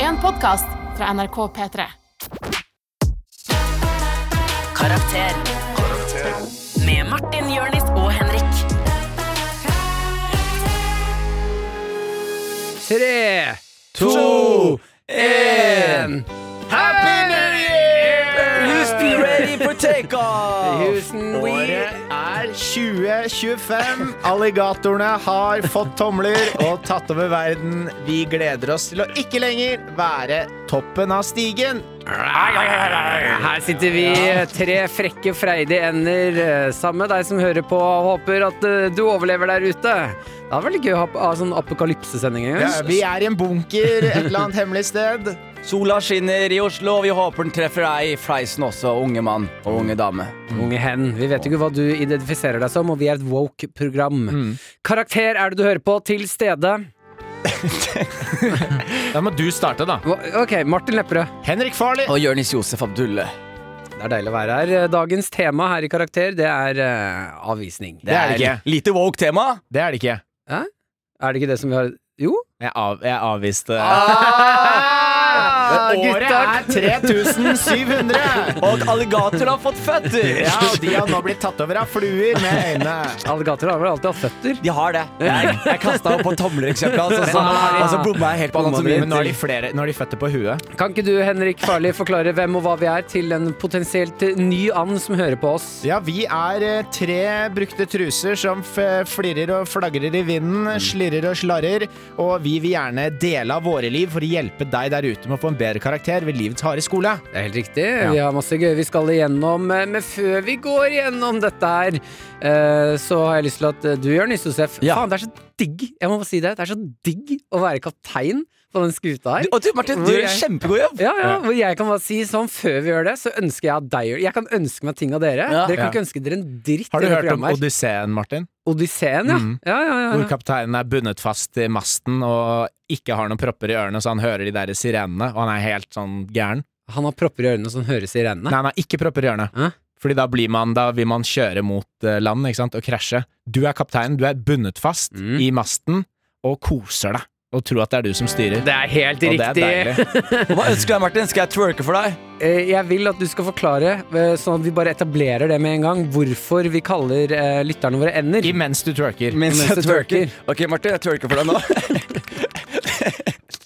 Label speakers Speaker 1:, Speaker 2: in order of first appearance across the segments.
Speaker 1: en podkast fra NRK P3.
Speaker 2: Karakter. Med Martin, Jørnis og Henrik.
Speaker 3: Tre, to, én Happy New Year!
Speaker 4: Houston ready for takeoff!
Speaker 3: Houston, we
Speaker 5: Året er 2025. Alligatorene har fått tomler og tatt over verden. Vi gleder oss til å ikke lenger være toppen av stigen.
Speaker 3: Her sitter vi, eh, tre frekke, freidige ender, eh, sammen med deg som hører på og håper at eh, du overlever der ute. Det hadde vært litt gøy å ha ha sånn apokalypsesending en
Speaker 5: Ja,
Speaker 3: gang.
Speaker 5: vi er i en bunker et eller annet hemmelig sted.
Speaker 4: Sola skinner i Oslo, og vi håper den treffer deg i fleisen også, unge mann og unge dame.
Speaker 3: Unge hen, vi vet jo ikke hva du identifiserer deg som, og vi er et woke-program.
Speaker 5: Mm.
Speaker 3: Karakter er det du hører på, til stede.
Speaker 6: Da må du starte, da.
Speaker 3: Hva- Ok, Martin Lepperød.
Speaker 5: Henrik Farley.
Speaker 4: Og Jonis Josef Abdulle.
Speaker 3: Det er deilig å være her. Eh, Dagens tema her i Karakter, det er eh, avvisning.
Speaker 5: Det er det ikke.
Speaker 4: Lite woke tema.
Speaker 5: Det er det ikke.
Speaker 3: Er det ikke det som vi har Jo?
Speaker 5: Jeg, av, jeg avviste
Speaker 3: Ah,
Speaker 5: Året er 3700!
Speaker 4: Og alligatoren har fått føtter!
Speaker 5: Ja, og de har nå blitt tatt over av fluer med øynene.
Speaker 3: Alligatorer har vel alltid hatt føtter?
Speaker 4: De har det. Jeg, jeg kasta opp på tomlereksempelet, altså, så-
Speaker 3: Ah.
Speaker 4: og så bomma jeg helt på
Speaker 5: Men
Speaker 4: anatomien.
Speaker 5: nå er de, flere, nå er de føtter på huet.
Speaker 3: Kan ikke du, Henrik Farley, forklare hvem og hva vi er til en potensielt ny and som hører på oss?
Speaker 5: Ja, vi er eh, tre brukte truser som f- flirrer og flagrer i vinden, slirrer og slarrer, og vi vil gjerne dele av våre liv for å hjelpe deg der ute med å få en bedre karakter ved livets harde skole.
Speaker 3: Det er helt riktig. Vi har masse gøy vi skal igjennom. eh, Men før vi går igjennom dette her, eh, så har jeg lyst til at du, Jonis Josef
Speaker 4: Ja.
Speaker 3: Faen, det er så digg! Jeg må bare si det. Det er så digg å være kaptein på den skuta her.
Speaker 4: Og du, Martin, du gjør en kjempegod jobb.
Speaker 3: Ja, ja, hvor jeg kan bare si sånn før vi gjør det, så ønsker jeg at deg Jeg kan ønske meg ting av dere.
Speaker 4: Ja.
Speaker 3: Dere kan
Speaker 5: Ja.
Speaker 3: ikke ønske dere en dritt.
Speaker 5: Har
Speaker 3: i
Speaker 5: du
Speaker 3: det
Speaker 5: hørt om
Speaker 3: programmet her.
Speaker 5: Odysseen, Martin?
Speaker 3: Odysseen, ja.
Speaker 5: Mhm.
Speaker 3: Ja, ja, ja,
Speaker 5: Hvor
Speaker 3: ja.
Speaker 5: kapteinen er bundet fast i masten og ikke har noen propper i ørene, så han hører de der sirenene, og han er helt sånn gæren.
Speaker 3: Han har propper i ørene som høres i rennene.
Speaker 5: Nei, han har ikke propper i ørene.
Speaker 3: Hæ?
Speaker 5: Fordi da, blir man, da vil man kjøre mot eh, land ikke sant? og krasje. Du er kapteinen, du er bundet fast
Speaker 3: Mm.
Speaker 5: i masten og koser deg. Og tror at det er du som styrer.
Speaker 3: Det er helt
Speaker 5: Og det er
Speaker 3: riktig.
Speaker 5: deilig.
Speaker 4: Hva ønsker du deg, Martin? Skal jeg twerke for deg?
Speaker 3: Eh, Jeg vil at du skal forklare, eh, sånn at vi bare etablerer det med en gang, hvorfor vi kaller eh, lytterne våre ender.
Speaker 5: Imens du twerker.
Speaker 3: Mens jeg twerker.
Speaker 4: Ok, Martin, jeg twerker for deg nå.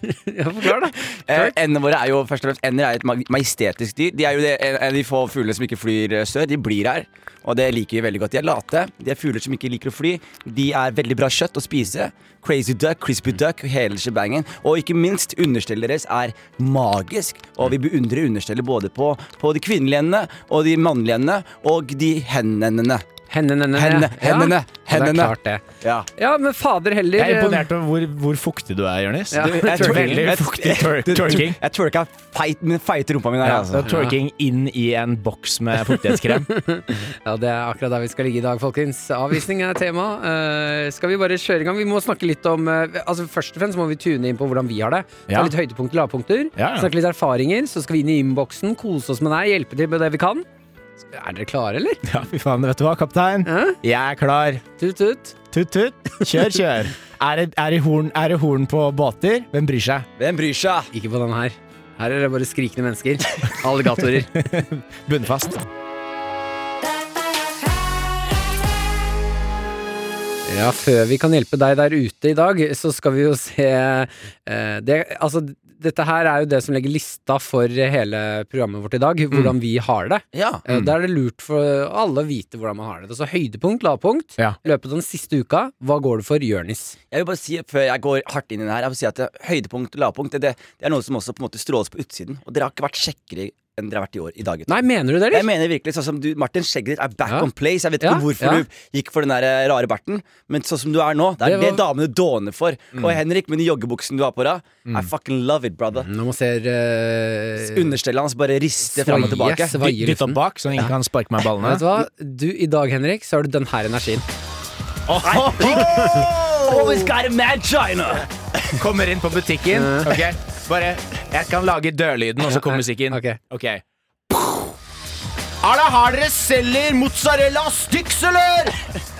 Speaker 3: Ja, Forklar, da.
Speaker 4: Eh, endene våre er jo først og fremst Ender er et mag- majestetisk dyr. De er jo det, en en av de få fuglene som ikke flyr eh, sør. De blir her, og det liker vi veldig godt. De er late. De er fugler som ikke liker å fly. De er veldig bra kjøtt å spise. Crazy duck, crispy duck, hele shebangen. Og ikke minst, understellet deres er magisk. Og vi beundrer understellet både på, på de kvinnelige endene og de mannlige endene og de hen-endene.
Speaker 3: Henne, henne,
Speaker 4: Henne, hennene,
Speaker 3: Ja, det
Speaker 4: hennene.
Speaker 3: er klart det.
Speaker 4: Ja.
Speaker 3: Ja, men fader heller.
Speaker 5: Jeg er
Speaker 3: eh,
Speaker 5: imponert over hvor, hvor fuktig du er, Jonis.
Speaker 3: Ja.
Speaker 5: Du-
Speaker 4: Jeg
Speaker 3: Twerking.
Speaker 4: twerker-
Speaker 5: Veldig
Speaker 4: jeg-
Speaker 5: fuktig twer-
Speaker 4: jeg-
Speaker 5: twerking.
Speaker 4: Jeg twerka feit, men feite rumpa mi der,
Speaker 5: Ja,
Speaker 4: altså.
Speaker 5: så twerking inn i en boks med fuktighetskrem.
Speaker 3: Ja, det er akkurat der vi skal ligge i dag, folkens. Avvisning er tema. Eh, skal vi bare kjøre i gang? Vi må snakke litt om eh, Altså Først og fremst må vi tune inn på hvordan vi har det. Ta
Speaker 5: Ja.
Speaker 3: litt høydepunkter, lavpunkter.
Speaker 5: Ja, ja.
Speaker 3: Snakke litt erfaringer. Så skal vi inn i innboksen, kose oss med deg, hjelpe til med det vi kan. Er dere klare, eller?
Speaker 5: Ja, fy faen, vet du hva, kaptein?
Speaker 3: Hæ?
Speaker 5: Jeg er klar.
Speaker 3: Tut, tut.
Speaker 5: Tut, tut. Kjør, kjør. Er det, er, det horn, er det horn på båter? Hvem bryr seg?
Speaker 4: Hvem bryr seg?
Speaker 3: Ikke på den her. Her er det bare skrikende mennesker. Alligatorer.
Speaker 5: Bunnfast.
Speaker 3: Ja, før vi kan hjelpe deg der ute i dag, så skal vi jo se eh, det, Altså, dette her er jo det som legger lista for hele programmet vårt i dag.
Speaker 5: Mm.
Speaker 3: Hvordan vi har det.
Speaker 4: Ja.
Speaker 3: Eh, Da er det lurt for alle å vite hvordan man har det. Så høydepunkt, lavpunkt.
Speaker 5: Ja.
Speaker 3: I løpet av den siste uka, hva går det for Jørnis?
Speaker 4: Jeg vil bare si, før jeg går hardt inn i det her, jeg vil si at det, høydepunkt og lavpunkt det, det, det er noe som også på en måte stråles på utsiden. Og dere har ikke vært kjekkere enn dere har vært i år i dag. gutter.
Speaker 3: Nei, mener du det,
Speaker 4: Jeg
Speaker 3: eller?
Speaker 4: mener virkelig sånn som du, Martin, skjegget ditt er back
Speaker 3: Ja.
Speaker 4: on place. Jeg vet ikke
Speaker 3: Ja,
Speaker 4: hvorfor
Speaker 3: ja.
Speaker 4: du gikk for den der eh, rare berten, men sånn som du er nå, det er det,
Speaker 3: Det
Speaker 4: damene dåner for. Og Henrik, med de joggebuksen du har på deg, I fucking love it, brother.
Speaker 3: Når man ser eh,
Speaker 4: Understellet hans bare rister fram og
Speaker 3: svaie-
Speaker 4: tilbake.
Speaker 3: svaie i
Speaker 5: Dytt opp
Speaker 3: luften.
Speaker 5: bak, så ingen kan sparke meg i ballene.
Speaker 3: Vet du hva? Du, I dag, Henrik, så har du den her energien.
Speaker 4: Always got a mad China!
Speaker 5: Kommer inn på butikken. Ok, Bare Jeg kan lage dørlyden, og så kommer musikken.
Speaker 3: Ok.
Speaker 5: Ok. Er det her dere selger mozzarella og Stix, eller?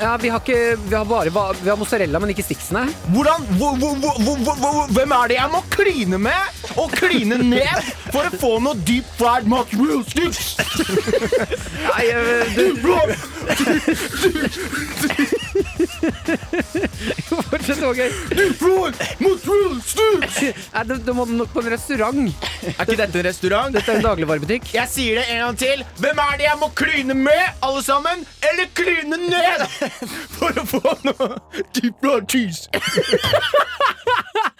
Speaker 3: Ja, vi har ikke Vi har bare va- Vi har mozzarella, men ikke stiksene.
Speaker 5: Hvordan, hvor, hvor, hvor, hvor, hvor, hvor, hvem er det jeg må kline med og kline ned for å få noe deep fried mackerel sticks?
Speaker 3: Nei, jeg- du,
Speaker 5: Du
Speaker 3: hvorfor er det sånn, så gøy?
Speaker 5: fried mackerel sticks!
Speaker 3: Nei, du, du må nok på en restaurant.
Speaker 5: Er ikke dette en restaurant?
Speaker 3: Dette er en dagligvarebutikk.
Speaker 5: Jeg sier det en gang til. Hvem er det jeg må kline med, alle sammen? Eller kline ned? For å få noe deep fried cheese.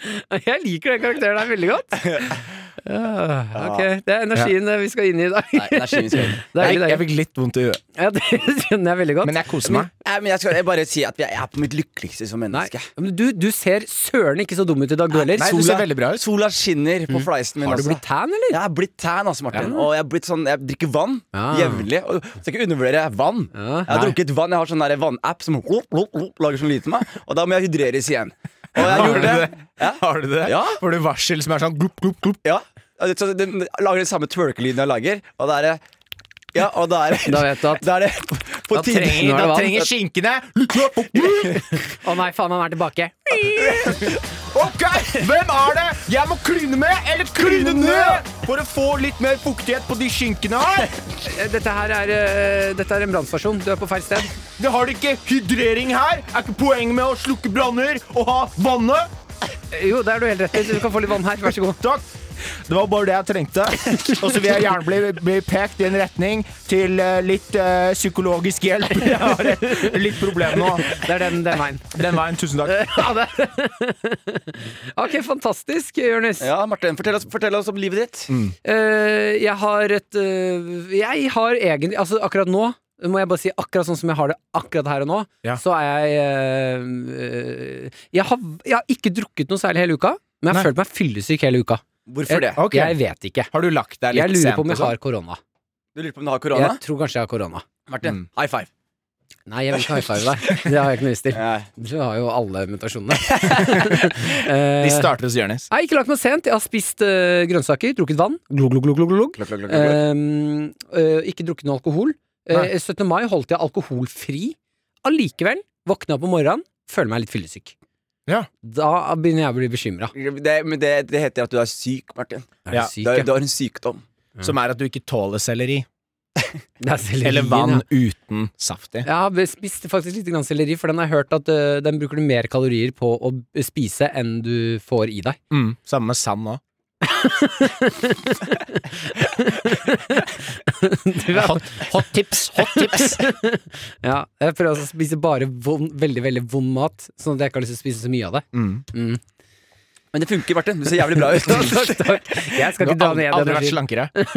Speaker 3: Jeg liker den karakteren der veldig godt. Ah, Ja, ok, Det er energien eh, vi skal inn i i dag.
Speaker 4: Nei, energien skal inn.
Speaker 3: Deilig,
Speaker 5: Jeg, jeg
Speaker 3: deilig.
Speaker 5: fikk litt vondt i huet.
Speaker 3: Ja, det skjønner jeg veldig godt.
Speaker 5: Men jeg koser meg.
Speaker 4: Nei, men jeg skal bare si at jeg er på mitt lykkeligste som
Speaker 3: Nei,
Speaker 4: menneske.
Speaker 3: men du, du ser søren ikke så dum ut i dag, du heller.
Speaker 5: Nei, du ser veldig bra ut.
Speaker 4: Sola skinner på fleisen min.
Speaker 3: Har du
Speaker 4: altså.
Speaker 3: blitt tan, eller?
Speaker 4: Jeg er blitt tan, altså, Martin. Og jeg, er blitt sånn, jeg drikker vann
Speaker 3: Ah.
Speaker 4: jevnlig. Og jeg skal ikke undervurdere vann. Jeg har
Speaker 5: Nei.
Speaker 4: drukket vann, jeg har sånn der vannapp som lop, lop, lop, lager sånn lyd til meg. Og da må jeg hydreres igjen. Og jeg
Speaker 5: Har du
Speaker 4: gjorde
Speaker 5: det?
Speaker 4: det. Ja.
Speaker 5: Har du det?
Speaker 4: Ja.
Speaker 5: Får du varsel som er sånn glup, glup, glup?
Speaker 4: ja. Og det- Så den lager den samme twerkelyden jeg lager, og da er det Ja, og da er det
Speaker 3: Da vet du at-
Speaker 4: Da er det på
Speaker 3: Da
Speaker 4: tide.
Speaker 3: trenger- Nå er det
Speaker 5: Da
Speaker 3: vann.
Speaker 5: trenger skinkene glup, glup, glup, glup.
Speaker 3: Å nei, faen, han er tilbake.
Speaker 5: Ok, hvem er det jeg må kline med eller kline ned for å få litt mer fuktighet på de skinkene her?
Speaker 3: Eh, Dette her er, eh, dette er en brannstasjon. Du er på feil sted.
Speaker 5: Det har det ikke hydrering her. Er ikke poenget med å slukke branner og ha vannet?
Speaker 3: Eh, Jo, det er du helt rett i. så Du kan få litt vann her. Vær så god.
Speaker 5: Takk. Det var bare det jeg trengte. Og så vil jeg gjerne bli, bli pekt i en retning til eh, litt eh, psykologisk hjelp. Jeg har et, litt problem nå.
Speaker 3: Det er den, den veien.
Speaker 5: Den veien. Tusen takk.
Speaker 3: Ha det. Ok, fantastisk, Jonis.
Speaker 4: Ja, Martin, fortell oss, fortell oss om livet ditt.
Speaker 3: Eh, jeg har et eh, Jeg har egentlig Altså, akkurat nå må jeg bare si akkurat sånn som jeg har det akkurat her og nå,
Speaker 5: Ja.
Speaker 3: så er jeg eh, eh, jeg, har, jeg har ikke drukket noe særlig hele uka, men jeg har
Speaker 5: Nei.
Speaker 3: følt meg fyllesyk hele uka.
Speaker 4: Hvorfor det?
Speaker 5: Eh, ok.
Speaker 3: Jeg vet ikke.
Speaker 5: Har du lagt deg litt
Speaker 3: Jeg lurer
Speaker 5: sent
Speaker 3: på om
Speaker 5: og
Speaker 3: jeg
Speaker 5: sånn?
Speaker 3: har korona.
Speaker 4: Du lurer på om du har korona?
Speaker 3: Jeg tror kanskje jeg har korona.
Speaker 4: Martin, high five.
Speaker 3: Nei, jeg vil ikke high five deg. Det har jeg ikke noe lyst til.
Speaker 4: Nei.
Speaker 3: Du har jo alle mutasjonene.
Speaker 5: Vi
Speaker 3: Eh,
Speaker 5: starter hos Jonis.
Speaker 3: Nei, ikke lagt meg sent. Jeg har spist eh, grønnsaker, drukket vann. Glug, glug, glug, glug, glug.
Speaker 4: Klokk, klokk, klokk,
Speaker 3: Ehm,
Speaker 4: klokk.
Speaker 3: øh, ikke drukket noe alkohol.
Speaker 5: Nei.
Speaker 3: Eh, 17. mai holdt jeg alkoholfri. Allikevel våkna opp om morgenen, føler meg litt fyllesyk.
Speaker 5: Ja.
Speaker 3: Da begynner jeg å bli bekymra.
Speaker 4: Eh, Det, men det, det heter at du er syk, Martin.
Speaker 5: Ja,
Speaker 4: Du har, du har en sykdom.
Speaker 3: Mm.
Speaker 5: Som er at du ikke tåler selleri. Eller
Speaker 3: Eller
Speaker 5: vann uten saft i.
Speaker 3: Jeg har spist faktisk litt grann selleri, for den har jeg hørt at øh, den bruker du mer kalorier på å b- spise enn du får i deg.
Speaker 5: Mm. Samme med sand òg. Hot, hot tips, hot tips!
Speaker 3: Ja, jeg prøver altså å spise bare vond, veldig veldig vond mat, sånn at jeg ikke har lyst til å spise så mye av det.
Speaker 5: Mm.
Speaker 4: Men det funker, Martin. Du ser jævlig bra ut.
Speaker 3: Takk, takk. Jeg skal
Speaker 5: Du
Speaker 3: ikke
Speaker 5: har
Speaker 3: dra
Speaker 5: aldri,
Speaker 3: ned
Speaker 5: aldri vært
Speaker 3: energien.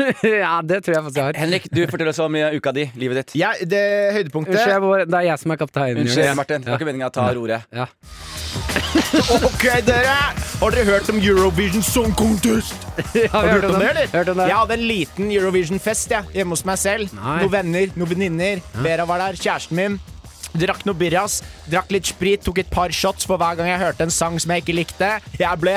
Speaker 5: slankere.
Speaker 3: Ja, det tror jeg faktisk jeg har.
Speaker 4: Henrik, du forteller oss om eh, uka di, livet ditt.
Speaker 5: Ja, det høydepunktet
Speaker 3: Unnskyld, jeg må bare, det er jeg som er kapteinen.
Speaker 4: Unnskyld,
Speaker 3: Jonas.
Speaker 4: Martin. Det var ikke meningen å ta roret.
Speaker 3: Ja.
Speaker 5: Ok, dere! Har dere hørt om Eurovision Song Contest?
Speaker 3: Ja,
Speaker 5: Har du hørt om det, eller?
Speaker 3: den? Hørt om det.
Speaker 5: Jeg hadde en liten Eurovision-fest jeg, hjemme hos meg selv.
Speaker 3: Nei.
Speaker 5: Noen venner, noen venninner. Vera var der, kjæresten min. Drakk noe birras, drakk litt sprit, tok et par shots for hver gang jeg hørte en sang som jeg ikke likte. Jeg ble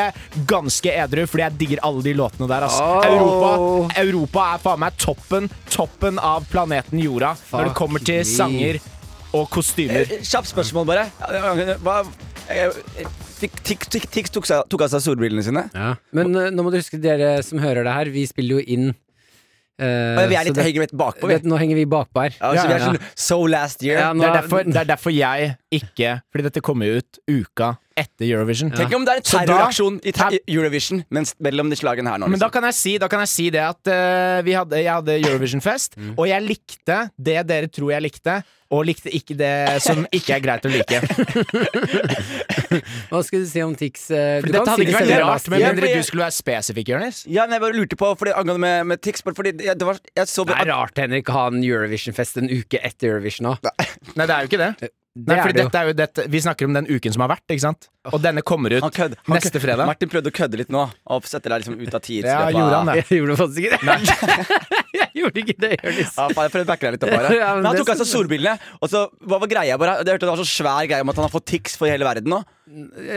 Speaker 5: ganske edru, fordi jeg digger alle de låtene der. ass.
Speaker 3: Oh.
Speaker 5: Europa, Europa er faen meg toppen, toppen av planeten jorda når det
Speaker 3: Fuck
Speaker 5: kommer til
Speaker 3: me.
Speaker 5: sanger og kostymer.
Speaker 4: Eh, Kjapt spørsmål, bare. Hva eh, Tix Tix- Tix- Tix tok seg- tok av seg solbrillene sine.
Speaker 3: Ja. Men eh, nå må du huske, dere som hører det her, vi spiller jo inn eh,
Speaker 4: Og vi
Speaker 3: så
Speaker 4: er litt,
Speaker 3: det-
Speaker 4: henger litt bakpå, vi.
Speaker 3: vet, Nå henger vi bakpå her.
Speaker 4: Ja, så vi er
Speaker 3: Ja, ja.
Speaker 4: sånn So last year.
Speaker 3: Ja, nå-
Speaker 5: Det er, derfor, det er derfor jeg ikke Fordi dette kommer jo ut uka etter Eurovision.
Speaker 4: Tenk om det er en
Speaker 5: Så da-
Speaker 4: terroraksjon i ter Eurovision mens, mellom de slagene her nå.
Speaker 5: Men da
Speaker 4: liksom.
Speaker 5: kan jeg si, da kan jeg si det at eh, vi hadde, jeg hadde Eurovision-fest, og jeg likte det dere tror jeg likte, og likte ikke det som ikke er greit å like. For
Speaker 3: Hva skulle du si om Tix? eh, du
Speaker 5: dette
Speaker 3: kan
Speaker 5: hadde
Speaker 3: sikkert
Speaker 5: ikke vært
Speaker 3: sende
Speaker 5: rart,
Speaker 3: last
Speaker 5: med
Speaker 4: Ja,
Speaker 3: minute.
Speaker 5: mindre
Speaker 4: for jeg-
Speaker 5: du skulle være spesifikk, Jonis.
Speaker 4: Ja, men Jeg bare lurte på fordi, angående med, med Tix. bare Fordi jeg, det var, jeg så
Speaker 3: Det er rart, Henrik, å ha en Eurovision-fest en uke etter Eurovision nå.
Speaker 5: Nei, det er jo ikke Eh, det.
Speaker 3: Det
Speaker 5: Nei,
Speaker 3: er
Speaker 5: fordi
Speaker 3: det jo.
Speaker 5: dette er jo dette, vi snakker om den uken som har vært, ikke sant? Og denne kommer ut
Speaker 4: Han kødd- han
Speaker 5: neste
Speaker 4: kødd-
Speaker 5: fredag.
Speaker 4: Martin prøvde å kødde litt nå. Og sette deg liksom ut av tid.
Speaker 5: Ja, gjorde han det?
Speaker 3: Jeg gjorde faktisk ikke det. Jeg Gjorde ikke det, Jonis.
Speaker 4: Ja, faen, jeg prøvde å backe deg litt opp her.
Speaker 3: Ja, men
Speaker 4: Men han
Speaker 3: det
Speaker 4: tok altså solbrillene, og så hva var greia bare? Jeg hørte det var så svær greie om at han har fått tics for hele verden nå.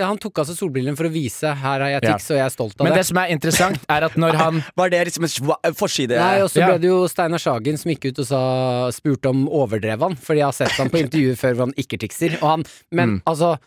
Speaker 3: Han tok altså solbrillene for å vise her har jeg
Speaker 5: Ja.
Speaker 3: tics, og jeg er stolt av
Speaker 5: Men
Speaker 3: det.
Speaker 5: det som er interessant, er at når han
Speaker 4: Var det liksom en sva- en forside?
Speaker 3: Nei, og så
Speaker 5: Ja.
Speaker 3: ble det jo Steinar Sagen som gikk ut og sa, spurte om overdrev han, fordi jeg har sett han på intervjuer før hvor han ikke tikser. Og han, men altså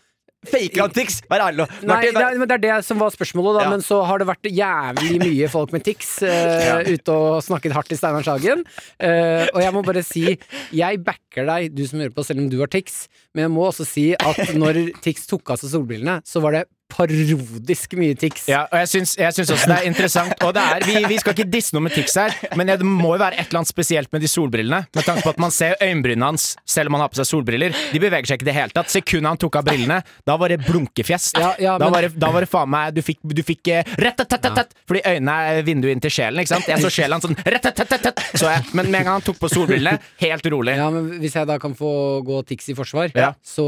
Speaker 4: Faker han tics? Vær ærlig nå.
Speaker 3: Nei,
Speaker 4: Martin,
Speaker 3: det,
Speaker 4: vær-
Speaker 3: er- men det er det som var spørsmålet, da.
Speaker 4: Ja.
Speaker 3: Men så har det vært jævlig mye folk med tics eh, ute og snakket hardt til Steinar Sagen. Eh, og jeg må bare si, jeg backer deg, du som hører på, selv om du har tics. Men jeg må også si at når tics tok av seg solbrillene, så var det parodisk mye tics.
Speaker 5: Ja, og jeg syns, jeg syns også det er interessant. Og det er, vi, vi skal ikke disse noe med tics her, men det må jo være et eller annet spesielt med de solbrillene. Med tanke på at man ser øyenbrynene hans selv om han har på seg solbriller. De beveger seg ikke i det hele tatt. Sekundet han tok av brillene, da var det blunkefjes.
Speaker 3: Ja, ja,
Speaker 5: da,
Speaker 3: men-
Speaker 5: var det, da var det faen meg Du fikk, du fikk eh, rettatatat, Fordi øynene er vinduet inn til sjelen, ikke sant? Jeg så sjelen hans sånn rettatatat, så jeg. Men med en gang han tok på solbrillene, helt rolig.
Speaker 3: Ja, men Hvis jeg da kan få gå tics i forsvar,
Speaker 5: Ja.
Speaker 3: så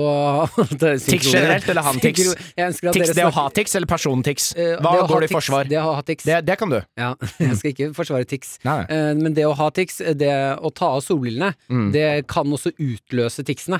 Speaker 3: Tics
Speaker 5: generelt, eller han tics?
Speaker 3: Jeg ønsker at
Speaker 5: Tics,
Speaker 3: dere
Speaker 5: det å ha
Speaker 3: snakker-
Speaker 5: tics eller persontics?
Speaker 3: Eh,
Speaker 5: Hva
Speaker 3: det å ha
Speaker 5: går det i
Speaker 3: tics,
Speaker 5: forsvar?
Speaker 3: Det å ha tics.
Speaker 5: Det, det kan du.
Speaker 3: Ja, jeg skal ikke forsvare tics.
Speaker 5: Mm. Nei, nei.
Speaker 3: Eh, Men det å ha tics, det å ta av solbrillene,
Speaker 5: Mm.
Speaker 3: det kan også utløse ticsene.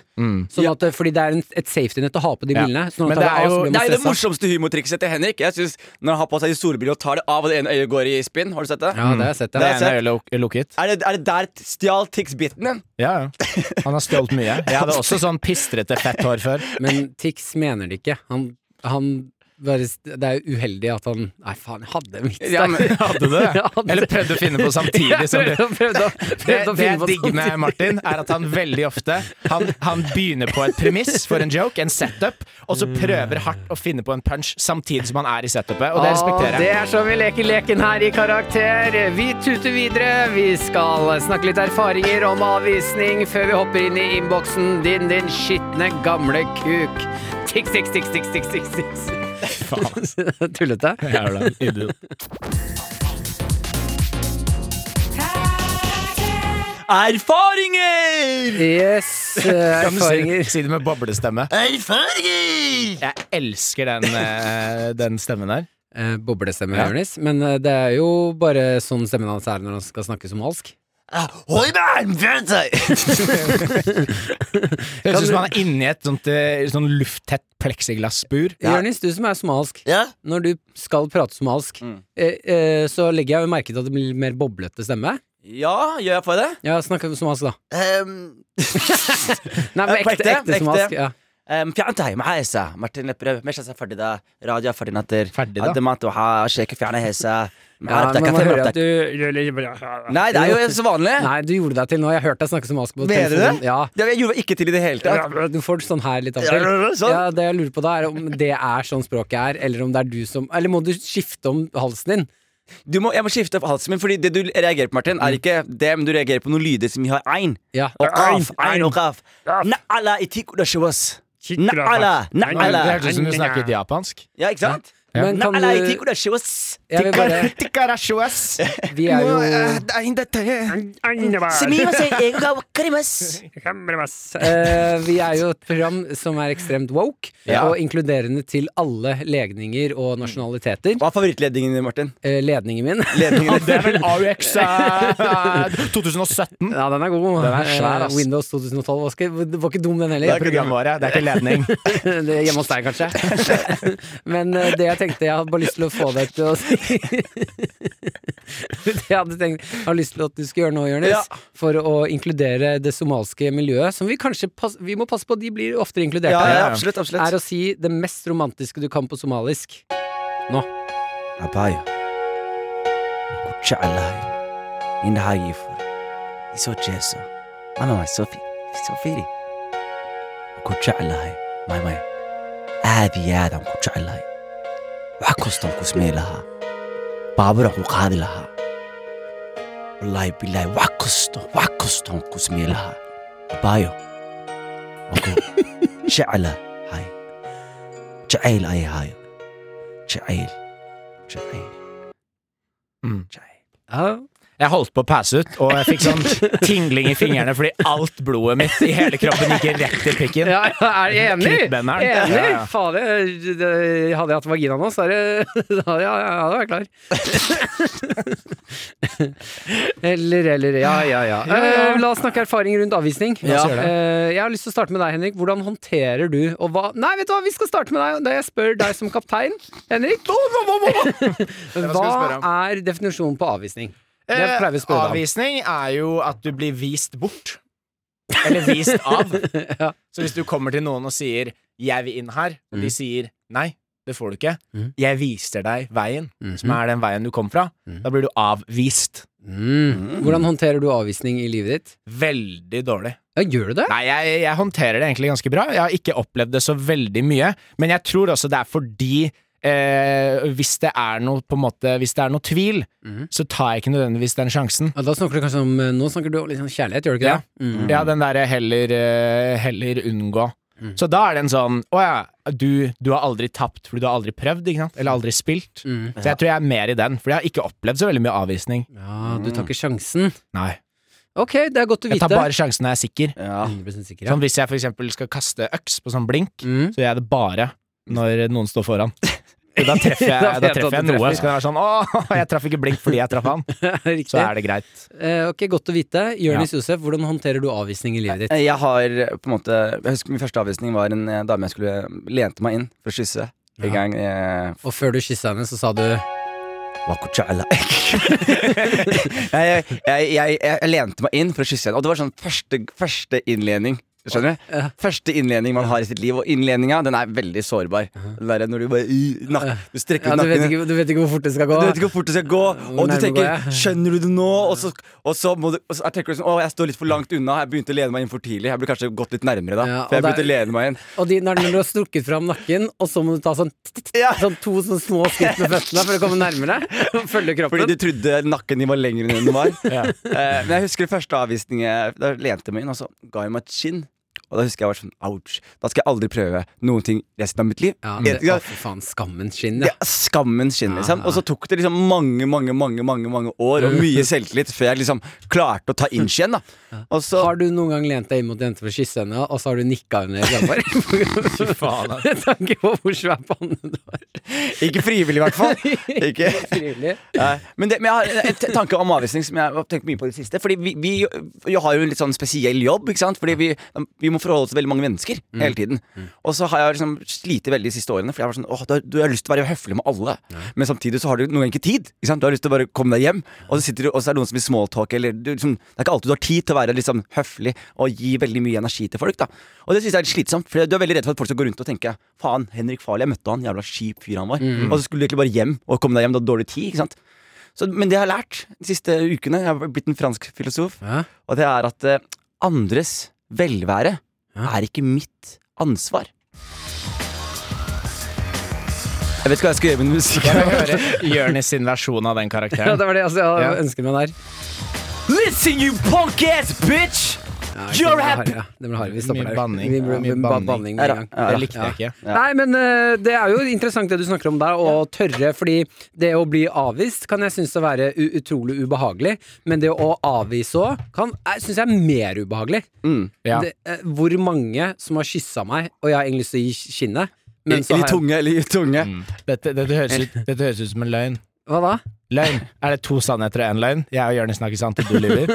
Speaker 3: Sånn at, fordi det er en, et safety-nett å ha på de
Speaker 5: Ja.
Speaker 3: brillene. Sånn
Speaker 5: Men
Speaker 3: at
Speaker 5: det
Speaker 3: tar du
Speaker 5: er
Speaker 3: av, så
Speaker 5: jo-
Speaker 3: blir
Speaker 4: Det
Speaker 3: man
Speaker 4: er jo det
Speaker 3: stressa.
Speaker 4: morsomste humortrikset til Henrik. Jeg synes Når han har på seg de solbrillene og tar det av, og det ene øyet går i spinn. Har du sett det?
Speaker 3: Ja, det har Altså, jeg sett.
Speaker 5: Det
Speaker 3: Ja.
Speaker 4: er
Speaker 5: ene øyet luk- lukket.
Speaker 4: Er det, er det der t- stjal tics-biten din?
Speaker 5: Ja, ja. Han har stjålet mye. Jeg hadde også sånn pistrete fett hår før.
Speaker 3: Men tics mener det ikke. Han, han bare, det er jo uheldig at han Nei, faen, jeg hadde en vits der.
Speaker 4: Ja, men-
Speaker 5: Hadde du
Speaker 3: Jeg hadde-
Speaker 5: Eller prøvde å finne på samtidig som
Speaker 3: Jeg
Speaker 5: du.
Speaker 3: prøvde å-
Speaker 5: Det,
Speaker 3: prøvde
Speaker 5: det
Speaker 3: å finne
Speaker 5: jeg
Speaker 3: på
Speaker 5: digger
Speaker 3: sånn.
Speaker 5: med Martin, er at han veldig ofte han, han begynner på et premiss for en joke, en setup, og så prøver hardt å finne på en punch samtidig som han er i setupet, og det
Speaker 3: Å,
Speaker 5: respekterer
Speaker 3: Ah, Det
Speaker 5: jeg.
Speaker 3: er sånn vi leker leken her i Karakter. Vi tuter videre. Vi skal snakke litt erfaringer om avvisning før vi hopper inn i innboksen din, din skitne gamle kuk. Tiks, tiks, tiks, tiks, tiks, tiks, tiks. Tullete?
Speaker 5: Jævla idiot.
Speaker 4: Erfaringer!
Speaker 3: Yes. eh,
Speaker 5: Kan du si,
Speaker 3: Erfaringer.
Speaker 5: si det med boblestemme?
Speaker 4: Erfaringer!
Speaker 5: Jeg elsker den, eh, den stemmen der.
Speaker 3: Eh, Boblestemme,
Speaker 5: Ja.
Speaker 3: Jonis. Men eh, det er jo bare sånn stemmen hans er når han skal snakke somalisk.
Speaker 4: Hoi, man, fjern seg!
Speaker 5: Høres ut som han er inni et sånt, eh, sånn lufttett pleksiglasspur.
Speaker 4: Ja.
Speaker 3: Jonis, du som er somalisk.
Speaker 4: Ja?
Speaker 3: Når du skal prate somalisk, eh, eh, så legger jeg jo merke til at det blir mer boblete stemme.
Speaker 4: ja, gjør jeg på det?
Speaker 3: Ja, snakk om somalisk, da.
Speaker 4: Um,
Speaker 3: Nei, men
Speaker 4: Ja, på
Speaker 3: ekte,
Speaker 4: ekte,
Speaker 3: ekte,
Speaker 4: ekte.
Speaker 3: somalisk. Ja.
Speaker 4: Um, fjern deg med hesa. Martin Lepperød. Med seg ferdig da. Radio er ferdig natter.
Speaker 5: Ferdig da?
Speaker 4: Ademat og ha, sjeke fjerne hesa. Men
Speaker 3: Ja,
Speaker 4: her opptak,
Speaker 3: men man
Speaker 4: her
Speaker 3: hører
Speaker 4: opptak.
Speaker 3: at du
Speaker 4: Nei, det er jo så vanlig.
Speaker 3: Nei, du gjorde deg til nå. Jeg har hørt deg snakke somalisk på
Speaker 4: Mener du
Speaker 3: telefonen.
Speaker 4: det?
Speaker 3: Ja.
Speaker 4: Det jeg gjorde jeg ikke til i det hele tatt.
Speaker 3: Du får det sånn her litt av og
Speaker 4: Ja, ja, ja,
Speaker 3: til.
Speaker 4: sånn.
Speaker 3: Ja, det jeg lurer på da, er om det er sånn språket er, eller om det er du som Eller må du skifte om halsen din?
Speaker 4: Du må, jeg må skifte opp halsen min, Fordi det du reagerer på, Martin, er ikke det, men du reagerer på noen lyder som har ein.
Speaker 3: Ja.
Speaker 4: Og av, ein og av. Na'ala itikudashawas. Na'ala,
Speaker 5: Det
Speaker 4: na'ala.
Speaker 5: hørtes ut som du snakket japansk.
Speaker 4: Ja, ikke sant?
Speaker 3: Men kan
Speaker 4: Na'ala
Speaker 3: du
Speaker 4: itikudashawas.
Speaker 3: Jeg vil bare Vi er jo eh, Vi er jo et program som er ekstremt woke,
Speaker 4: Ja.
Speaker 3: og inkluderende til alle legninger og nasjonaliteter.
Speaker 4: Hva er favorittledningen din, Martin?
Speaker 3: Eh, Ledningen min
Speaker 4: Ledningen din.
Speaker 5: Det er vel AUX eh, 2017.
Speaker 3: Ja, den er god.
Speaker 5: Den er svær,
Speaker 3: Eh,
Speaker 5: ass.
Speaker 3: Windows 2012 var ikke, det var ikke dum, den
Speaker 5: Det
Speaker 3: heller.
Speaker 5: er programvare, det er ikke ledning.
Speaker 3: Det er Hjemme hos deg, kanskje. Men eh, det jeg tenkte Jeg hadde bare lyst til å få deg til å si Det jeg hadde tenkt Jeg har lyst til at du skal gjøre nå, Jonis,
Speaker 4: Ja.
Speaker 3: for å inkludere det somalske miljøet, som vi kanskje pass, Vi må passe på, de blir oftere inkludert
Speaker 4: Ja,
Speaker 3: her,
Speaker 4: ja, absolutt.
Speaker 3: er
Speaker 4: absolutt
Speaker 3: å si det mest romantiske du kan på somalisk.
Speaker 4: Abaya. Kucha'alai. Indahayifur. Iso jeso. Mama Sofi. Sofiri. Kucha'alai. Mai mai. Adi adam kucha'alai. Wakostan kusmelaha. Babura kukadilaha. Wallahi billahi wakostan wakostan kusmelaha. Abayo. Wako. Cha'ala. Hai. Cha'il ay hai. Cha'il. Cha'il.
Speaker 5: Mm.
Speaker 4: Cha'il.
Speaker 3: Ja,
Speaker 5: Jeg holdt på å passe ut, og jeg fikk sånn tingling i fingrene fordi alt blodet mitt i hele kroppen gikk rett til pikken.
Speaker 3: Ja, ja, er jeg enig?
Speaker 5: Knyttbenderen.
Speaker 3: Enig?
Speaker 5: Ja, ja.
Speaker 3: Fader, det- hadde jeg hatt vagina nå, så er det Da hadde jeg, jeg hadde vært klar. eller, eller Ja, ja, ja. Eh, la oss snakke erfaring rundt avvisning.
Speaker 5: La oss gjøre det.
Speaker 3: Eh, jeg har lyst til å starte med deg, Henrik. Hvordan håndterer du og hva Nei, vet du hva, vi skal starte med deg. Da jeg spør deg som kaptein, Henrik.
Speaker 5: spørre
Speaker 3: Hva er definisjonen på avvisning? Det jeg pleier vi å spørre deg om.
Speaker 5: Eh, Avvisning er jo at du blir vist bort. Eller vist av. Så hvis du kommer til noen og sier 'jeg vil inn her', og de sier 'nei, det får du ikke',
Speaker 3: Mm. Mhm.
Speaker 5: 'jeg viser deg veien', som er den veien du kom fra, da blir du avvist.
Speaker 3: Mm. Hvordan håndterer du avvisning i livet ditt?
Speaker 5: Veldig dårlig.
Speaker 3: Ja, gjør du det?
Speaker 5: Nei, jeg, jeg håndterer det egentlig ganske bra. Jeg har ikke opplevd det så veldig mye, men jeg tror også det er fordi Eh, hvis det er noe på en måte Hvis det er noe tvil,
Speaker 3: Mhm.
Speaker 5: så tar jeg ikke nødvendigvis den sjansen.
Speaker 3: Ja, da snakker du kanskje om Nå snakker du om litt sånn kjærlighet, gjør du ikke
Speaker 5: Ja.
Speaker 3: det? Mm.
Speaker 5: Ja, den derre heller, eh, heller unngå.
Speaker 3: Mm.
Speaker 5: Så da er det en sånn Å ja, du, du har aldri tapt fordi du har aldri prøvd, ikke sant? Eller aldri spilt.
Speaker 3: Mm.
Speaker 5: Så jeg tror jeg er mer i den, for jeg har ikke opplevd så veldig mye avvisning.
Speaker 3: Ja, du tar ikke sjansen.
Speaker 5: Nei.
Speaker 3: Ok, det er godt å
Speaker 5: Jeg
Speaker 3: vite.
Speaker 5: tar bare sjansen når jeg er sikker.
Speaker 4: Ja.
Speaker 3: 100 sikker, ja.
Speaker 5: Sånn hvis jeg for eksempel skal kaste øks på sånn blink,
Speaker 3: Mm.
Speaker 5: så gjør jeg det bare når noen står foran. Så Da treffer jeg,
Speaker 3: Da vet
Speaker 5: da
Speaker 3: du at
Speaker 5: treffer jeg
Speaker 3: du
Speaker 5: noe.
Speaker 3: treffer.
Speaker 5: Så kan jeg være sånn Å, jeg traff ikke blink fordi jeg traff han.
Speaker 3: Riktig.
Speaker 5: Så er det greit.
Speaker 3: Eh, ok, godt å vite. Jonis Josef, hvordan håndterer du avvisning i livet ditt?
Speaker 4: Jeg har på en måte Jeg husker min første avvisning var en eh, dame jeg skulle lente meg inn for å kysse. En gang eh,
Speaker 3: Og før du kyssa henne, så sa du
Speaker 4: Wako chala. jeg, jeg, jeg, jeg lente meg inn for å kysse henne. Og det var sånn første, første innledning. Skjønner du? Første innledning man har i sitt liv. Og innledninga den er veldig sårbar. Den der, når du bare i- nak, Du strekker
Speaker 3: ja,
Speaker 4: ut
Speaker 3: du, vet
Speaker 4: nakken.
Speaker 3: ikke, du vet ikke hvor fort det skal gå?
Speaker 4: Du vet ikke hvor fort det skal gå, og du
Speaker 3: nærme går
Speaker 4: tenker
Speaker 3: jeg?
Speaker 4: 'skjønner du det nå?' Og så, og så, må du, og så tenker du sånn 'å, jeg står litt for langt unna', jeg begynte å lene meg inn for tidlig. Jeg burde kanskje gått litt nærmere da.
Speaker 3: Ja, og
Speaker 4: for jeg
Speaker 3: det er-
Speaker 4: begynte å lene meg inn.
Speaker 3: Og de, når du har strukket fram nakken, og så må du ta sånn,
Speaker 4: Ja.
Speaker 3: sånn to sånn små skritt med føttene for å komme nærmere? Og følge
Speaker 4: Fordi
Speaker 3: kroppen?
Speaker 4: du trodde nakken din var lengre enn den var.
Speaker 5: Ja.
Speaker 4: Eh, men jeg husker første avvisning jeg- Da lente jeg meg inn, og så ga jeg meg et kinn. Og da husker jeg jeg var sånn ouch. Da skal jeg aldri prøve noen ting resten av mitt liv.
Speaker 3: Ja,
Speaker 4: Jeg-
Speaker 3: det, å, for faen, skammens skinn, ja.
Speaker 4: Ja, skammens skinn, liksom. Og så tok det liksom mange, mange mange, mange, mange år og mye selvtillit før jeg liksom klarte å ta inch igjen. da Og så
Speaker 3: Har du noen gang lent deg inn mot en jente for å kysse henne, og så har du nikka henne istedenfor?
Speaker 5: Fy faen, ass.
Speaker 3: Med tanke på hvor svær panne du har.
Speaker 4: Ikke frivillig, i hvert fall. Ikke.
Speaker 3: Trivelig.
Speaker 4: Nei, Men, det, men jeg har en t- tanke om avvisning som jeg har tenkt mye på i det siste. Fordi vi, vi, jo har jo en litt sånn spesiell jobb, ikke sant? Fordi vi, vi må forholde oss til veldig mange mennesker hele tiden. Og så har jeg liksom slitt veldig de siste årene, for jeg var sånn åh, du, har- du har lyst til å være høflig med alle. Men samtidig så har du noen ganger ikke tid. Ikke sant? Du har lyst til å bare komme deg hjem, og så sitter du, og så er det noen som vil smalltalk, eller du, liksom, Det er ikke alltid du har tid til å være liksom høflig og gi veldig mye energi til folk, da. Og det syns jeg er litt slitsomt, for du er veldig redd for at folk skal gå rundt og tenke faen, Henrik Farley, jeg møtte han, jævla kjip fyr han var. Og så skulle du egentlig bare hjem, og komme deg hjem, du hadde dårlig tid, ikke sant. Så, men det jeg har lært de siste ukene, jeg har blitt en fransk filosof,
Speaker 3: Ja.
Speaker 4: og det er at eh, andres velvære er ikke mitt ansvar. Jeg vet ikke hva jeg skal gjøre med den musikken.
Speaker 5: Jeg vil høre Jonis sin versjon av den karakteren.
Speaker 3: Ja, det var det altså, jeg
Speaker 5: Ja.
Speaker 3: ønsket meg der.
Speaker 4: Listen, you punk ass bitch! You're happy!
Speaker 3: Ja, det blir hard. Vi stopper
Speaker 5: Mye
Speaker 3: der.
Speaker 5: banning.
Speaker 3: Vi, vi,
Speaker 5: Ja, mye
Speaker 3: vi-
Speaker 5: banning.
Speaker 3: banning med en gang.
Speaker 5: Det likte jeg ikke.
Speaker 4: Ja.
Speaker 3: Nei, men eh, det er jo interessant det du snakker om der, å tørre. Fordi det å bli avvist kan jeg synes å være u utrolig ubehagelig, men det å avvise òg kan jeg synes jeg er mer ubehagelig.
Speaker 5: Ja.
Speaker 3: Det, eh, hvor mange som har kyssa meg, og jeg har egentlig lyst til å gi kinnet, men så
Speaker 4: Eller i
Speaker 3: har jeg
Speaker 4: tunge, eller i tunge.
Speaker 5: Dette, dette, høres ut, dette høres ut som en løgn.
Speaker 3: Hva da?
Speaker 5: Løgn. Er det to sannheter og én løgn? Jeg og Jonis snakker sant, og du lyver.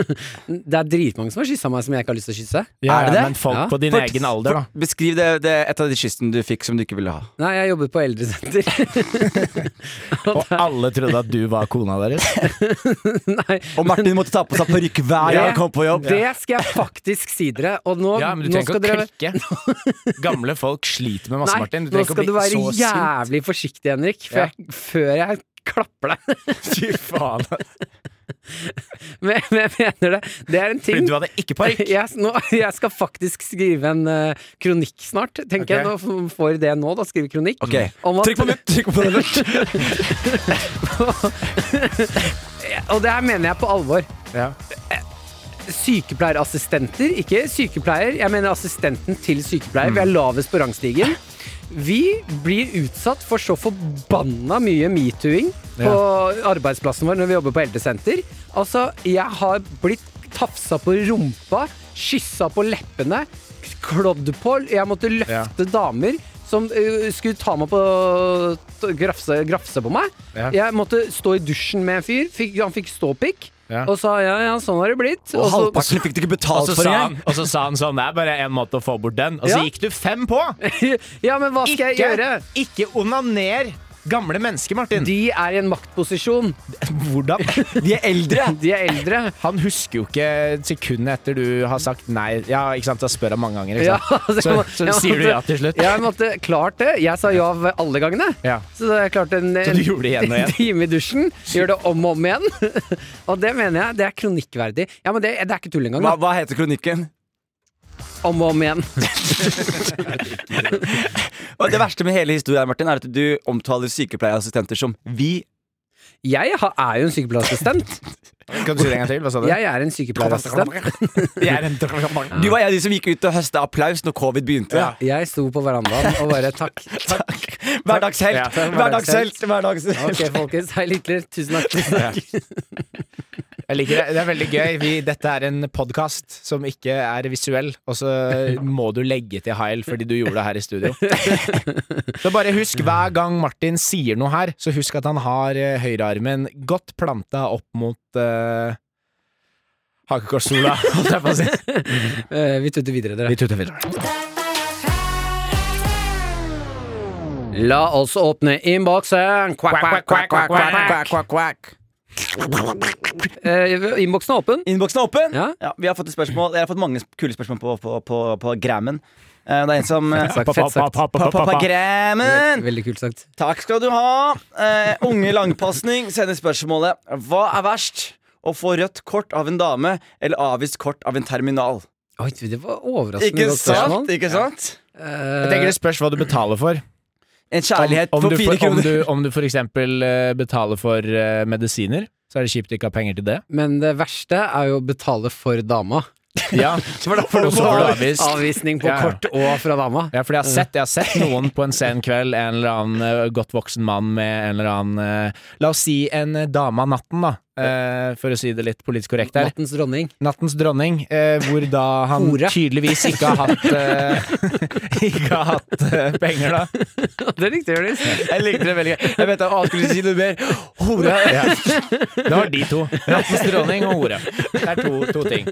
Speaker 3: Det er dritmange som har kyssa meg som jeg ikke har lyst til å kysse.
Speaker 5: Ja,
Speaker 4: Er det det?
Speaker 5: Men folk
Speaker 3: Ja.
Speaker 5: på din
Speaker 4: For-
Speaker 5: egen alder, da.
Speaker 4: for- Beskriv det, det et av de kyssene du fikk som du ikke ville ha.
Speaker 3: Nei, jeg jobber på eldresenter.
Speaker 5: Og alle trodde at du var kona deres.
Speaker 3: Nei,
Speaker 4: Og Martin måtte ta på seg parykk hver gang
Speaker 3: Det-
Speaker 4: han kom på jobb.
Speaker 3: det skal jeg faktisk si dere, og nå,
Speaker 5: Ja, men du
Speaker 3: nå
Speaker 5: trenger ikke
Speaker 3: skal
Speaker 5: å
Speaker 3: dere
Speaker 5: klikke. Gamle folk sliter med masse,
Speaker 3: Nei,
Speaker 5: Martin. Du
Speaker 3: nå
Speaker 5: trenger
Speaker 3: skal du
Speaker 5: ikke å
Speaker 3: være
Speaker 5: bli så sint.
Speaker 3: jævlig forsiktig, Henrik, for
Speaker 5: Ja.
Speaker 3: jeg, før jeg klapper deg.
Speaker 5: Fy faen.
Speaker 3: Men jeg- men jeg mener det. Det er en
Speaker 5: Fordi
Speaker 3: ting.
Speaker 5: du hadde ikke parykk.
Speaker 3: Jeg, s- nå, jeg skal faktisk skrive en eh, kronikk snart, tenker jeg. Nå f- får det nå, da. Skrive kronikk.
Speaker 4: Ok,
Speaker 3: Om at-
Speaker 4: Trykk på nytt! Trykk på nytt.
Speaker 3: Og det her mener jeg på alvor. Eh,
Speaker 5: Ja.
Speaker 3: sykepleierassistenter, ikke sykepleier, jeg mener assistenten til sykepleier,
Speaker 5: Mm.
Speaker 3: vi er lavest på rangstigen. Vi blir utsatt for så forbanna mye metooing på arbeidsplassen vår når vi jobber på eldresenter. Altså, jeg har blitt tafsa på rumpa, kyssa på leppene, klådd på. Jeg måtte løfte damer som ø, skulle ta meg på t- grafse, grafse på meg.
Speaker 5: Ja.
Speaker 3: Jeg måtte stå i dusjen med en fyr. Fikk, han fikk ståpikk.
Speaker 5: Ja.
Speaker 3: Og sa ja, ja, sånn har det blitt.
Speaker 4: Og
Speaker 3: Og så-
Speaker 4: halvparten fikk du ikke
Speaker 5: Og
Speaker 4: betalt
Speaker 5: så, Altså,
Speaker 4: for
Speaker 5: sa han,
Speaker 4: engang!
Speaker 5: og så sa han sånn, det er bare en måte å få bort den. Og så
Speaker 3: Ja.
Speaker 5: gikk du fem på!
Speaker 3: ja, men hva skal jeg gjøre?
Speaker 5: ikke onaner gamle mennesker, Martin.
Speaker 3: De er i en maktposisjon.
Speaker 5: hvordan?
Speaker 4: De er eldre!
Speaker 3: De er eldre.
Speaker 5: Han husker jo ikke sekundet etter du har sagt nei. Ja, ikke sant, Da spør han mange ganger.
Speaker 3: Ja,
Speaker 5: Ikke sant?
Speaker 3: altså, jeg må-
Speaker 5: så,
Speaker 3: jeg
Speaker 5: så sier du
Speaker 3: måtte-
Speaker 5: ja til slutt.
Speaker 3: Jeg måtte klart det. Jeg sa ja ved alle gangene.
Speaker 5: Ja.
Speaker 3: Så da har jeg klarte en,
Speaker 5: Så du gjorde det igjen og
Speaker 3: en
Speaker 5: igjen?
Speaker 3: time i dusjen. Gjør det om og om igjen. og det mener jeg. Det er kronikkverdig. Ja, men det, det er ikke tull engang. da.
Speaker 4: Hva, hva heter kronikken?
Speaker 3: Om og om igjen.
Speaker 4: Og Det verste med hele historien Martin er at du omtaler sykepleierassistenter som 'vi'.
Speaker 3: Jeg har, er jo en sykepleierassistent.
Speaker 5: Kan du si det en gang til? Hva sa du?
Speaker 3: Jeg er en sykepleierassistent.
Speaker 5: Jeg er en
Speaker 4: Du var en av de som gikk ut og høsta applaus når covid begynte.
Speaker 5: Ja.
Speaker 3: Jeg sto på verandaen og bare takk.
Speaker 4: Takk. Hverdagshelt!
Speaker 5: Ja, takk.
Speaker 4: Hverdagshelt! Hverdagshelt!
Speaker 3: Ok, folkens. Hei, Litler. Tusen takk. Tusen takk.
Speaker 5: Jeg liker det. Det er veldig gøy. Vi, dette er en podkast som ikke er visuell, og så må du legge til heil fordi du gjorde det her i studio. Så bare husk hver gang Martin sier noe her, så husk at han har eh, høyrearmen godt planta opp mot uh, hakekorssola, holdt jeg på å si.
Speaker 3: Eh, Vi tuter videre, dere.
Speaker 5: Vi tuter videre.
Speaker 3: La oss åpne innboksen. Kvakk, kvakk, kvakk, kvakk, kvakk, kvakk. Eh, Innboksen er åpen.
Speaker 4: Innboksen er åpen!
Speaker 3: Ja.
Speaker 4: vi har fått et spørsmål Jeg har fått mange kule spørsmål på, på, på, på Grammen. Eh, Det er en som
Speaker 3: Sagt,
Speaker 4: På-
Speaker 3: fett sagt.
Speaker 4: på- på- På Grammen!
Speaker 3: Veldig kult sagt.
Speaker 4: Takk skal du ha. Eh, unge langpasning sender spørsmålet Hva er verst? Å få rødt kort av en dame eller avvist kort av en terminal?
Speaker 3: Oi, det var overraskende
Speaker 4: Ikke
Speaker 3: godt spørsmål. Eh,
Speaker 4: sant? Ikke sant?
Speaker 5: Jeg tenker det spørs hva du betaler for.
Speaker 4: En kjærlighet
Speaker 5: Om, om,
Speaker 4: for
Speaker 5: du, for,
Speaker 4: fire
Speaker 5: om,
Speaker 4: kroner.
Speaker 5: du, om du for eksempel eh, betaler for eh, medisiner, så er det kjipt du ikke har penger til det.
Speaker 3: Men det verste er jo å betale for dama.
Speaker 5: Ja,
Speaker 4: da får du
Speaker 5: og så får du avvist.
Speaker 3: Avvisning på
Speaker 5: Ja, ja.
Speaker 3: kort og fra dama.
Speaker 5: Ja, for jeg har, sett, jeg har sett noen på en sen kveld, en eller annen eh, godt voksen mann med en eller annen eh, La oss si en eh, dame av natten, da, eh, for å si det litt politisk korrekt her.
Speaker 3: Nattens dronning.
Speaker 5: Nattens dronning, eh, hvor da han
Speaker 3: Hore.
Speaker 5: tydeligvis ikke har hatt eh, Ikke har hatt eh, penger, da.
Speaker 3: Det er riktig, Jonis.
Speaker 4: Jeg likte det veldig godt. Jeg vet jeg skulle si noe mer. Hore.
Speaker 5: Ja. Det var de to. Nattens dronning og hore. Det er to, to ting.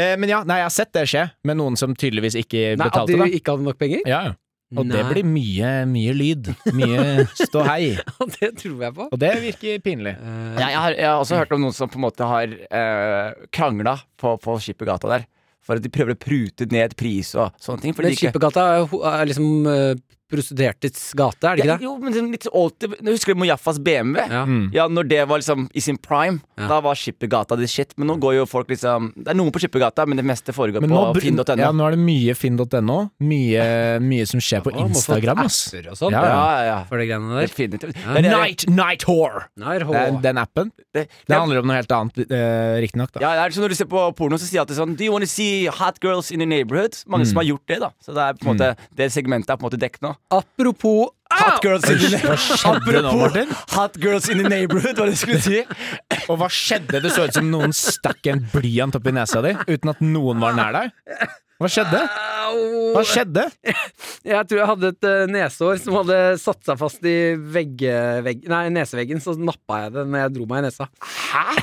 Speaker 5: Eh, men ja, nei, jeg har sett det skje med noen som tydeligvis ikke
Speaker 3: Nei, at
Speaker 5: betalte,
Speaker 3: du
Speaker 5: da.
Speaker 3: ikke hadde nok penger?
Speaker 5: Ja, ja. Og det
Speaker 3: Nei.
Speaker 5: blir mye, mye lyd. Mye ståhei.
Speaker 3: Det tror jeg på.
Speaker 5: Og det virker pinlig.
Speaker 3: Eh,
Speaker 4: Jeg, jeg, har, jeg har også hørt om noen som på en måte har eh, krangla på, på Skippergata der. For at de prøver å prute ned pris og sånne ting. Fordi
Speaker 3: men
Speaker 4: de ikke-
Speaker 3: Skippergata er, jo ho- er liksom eh, prostituertes gate, er det ikke det?
Speaker 4: Jo, men det er litt alltid, Husker du Mojaffas BMW?
Speaker 3: Ja.
Speaker 4: Ja, når det var liksom i sin prime,
Speaker 3: Ja.
Speaker 4: da var Skippergata the shit. Men nå går jo folk liksom Det er noen på Skippergata, men det meste foregår
Speaker 5: Men
Speaker 4: på
Speaker 5: nå, br-
Speaker 4: finn.no.
Speaker 5: ja, nå er det mye finn.no. Mye, mye som skjer på
Speaker 3: Å, må få
Speaker 5: Instagram. Ass.
Speaker 3: apper og sånt,
Speaker 5: Ja,
Speaker 4: ja, ja, ja.
Speaker 3: For de greiene der.
Speaker 4: Definitivt.
Speaker 3: Ja.
Speaker 4: Det er-
Speaker 5: Night, night whore!
Speaker 3: Nei, hå.
Speaker 5: Den, den appen.
Speaker 4: det-
Speaker 5: Det handler om noe helt annet, eh, riktignok. da.
Speaker 4: Ja, det er sånn Når du ser på porno, så sier alltid sånn Do you wanna see hot girls in your neighborhood? Mange
Speaker 3: Mm.
Speaker 4: som har gjort det, da. Så det er på en måte det segmentet er på en måte dekket nå.
Speaker 3: Apropos
Speaker 4: Hot girls in the
Speaker 5: Hva skjedde nå,
Speaker 4: Apropos
Speaker 5: Martin?
Speaker 4: hot girls in the neighborhood, hva det skulle si.
Speaker 5: Og hva skjedde? Det så ut som noen stakk en blyant opp i nesa di uten at noen var nær deg. Hva skjedde?
Speaker 3: Au!
Speaker 5: Hva skjedde?
Speaker 3: Jeg tror jeg hadde et eh, nesehår som hadde satt seg fast i vegg, vegg, nei, neseveggen, så nappa jeg det når jeg dro meg i nesa. Hæ?!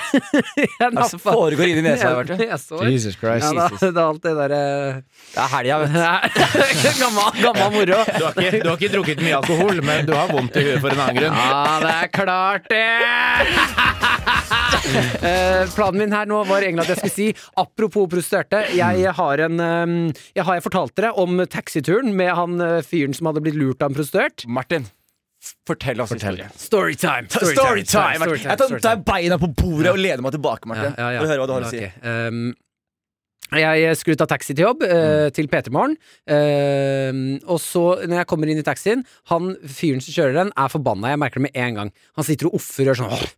Speaker 3: jeg
Speaker 4: Altså, foregår inni nesa, har det vært det?
Speaker 3: Nesehår.
Speaker 5: Jesus Christ.
Speaker 3: Ja, da, det er alt det eh, derre
Speaker 4: Det er helga, vet du.
Speaker 3: Gammal gammal moro.
Speaker 5: Du har, ikke, du har ikke drukket mye alkohol, men du har vondt i huet for en annen grunn.
Speaker 3: Ja, det er klart det! Eh, planen min her nå var egentlig at jeg skulle si Apropos prostituerte.
Speaker 5: Mm.
Speaker 3: Jeg har en eh, Jeg har jeg fortalt dere om taxituren med han eh, fyren som hadde blitt lurt av en prostituert.
Speaker 4: Martin, fortell oss
Speaker 5: Fortell.
Speaker 4: historien.
Speaker 3: Storytime!
Speaker 4: Storytime! Martin. Jeg tar,
Speaker 3: storytime.
Speaker 4: tar beina på bordet og leder meg tilbake, Martin.
Speaker 3: Ja, ja, ja.
Speaker 4: For å høre hva du har å si.
Speaker 3: Ok, ehm, jeg skulle ta taxi til jobb, eh,
Speaker 4: Mm.
Speaker 3: til P3morgen. ehm, og så, når jeg kommer inn i taxien, han fyren som kjører den, er forbanna. Jeg merker det med en gang. Han sitter og offer og gjør sånn.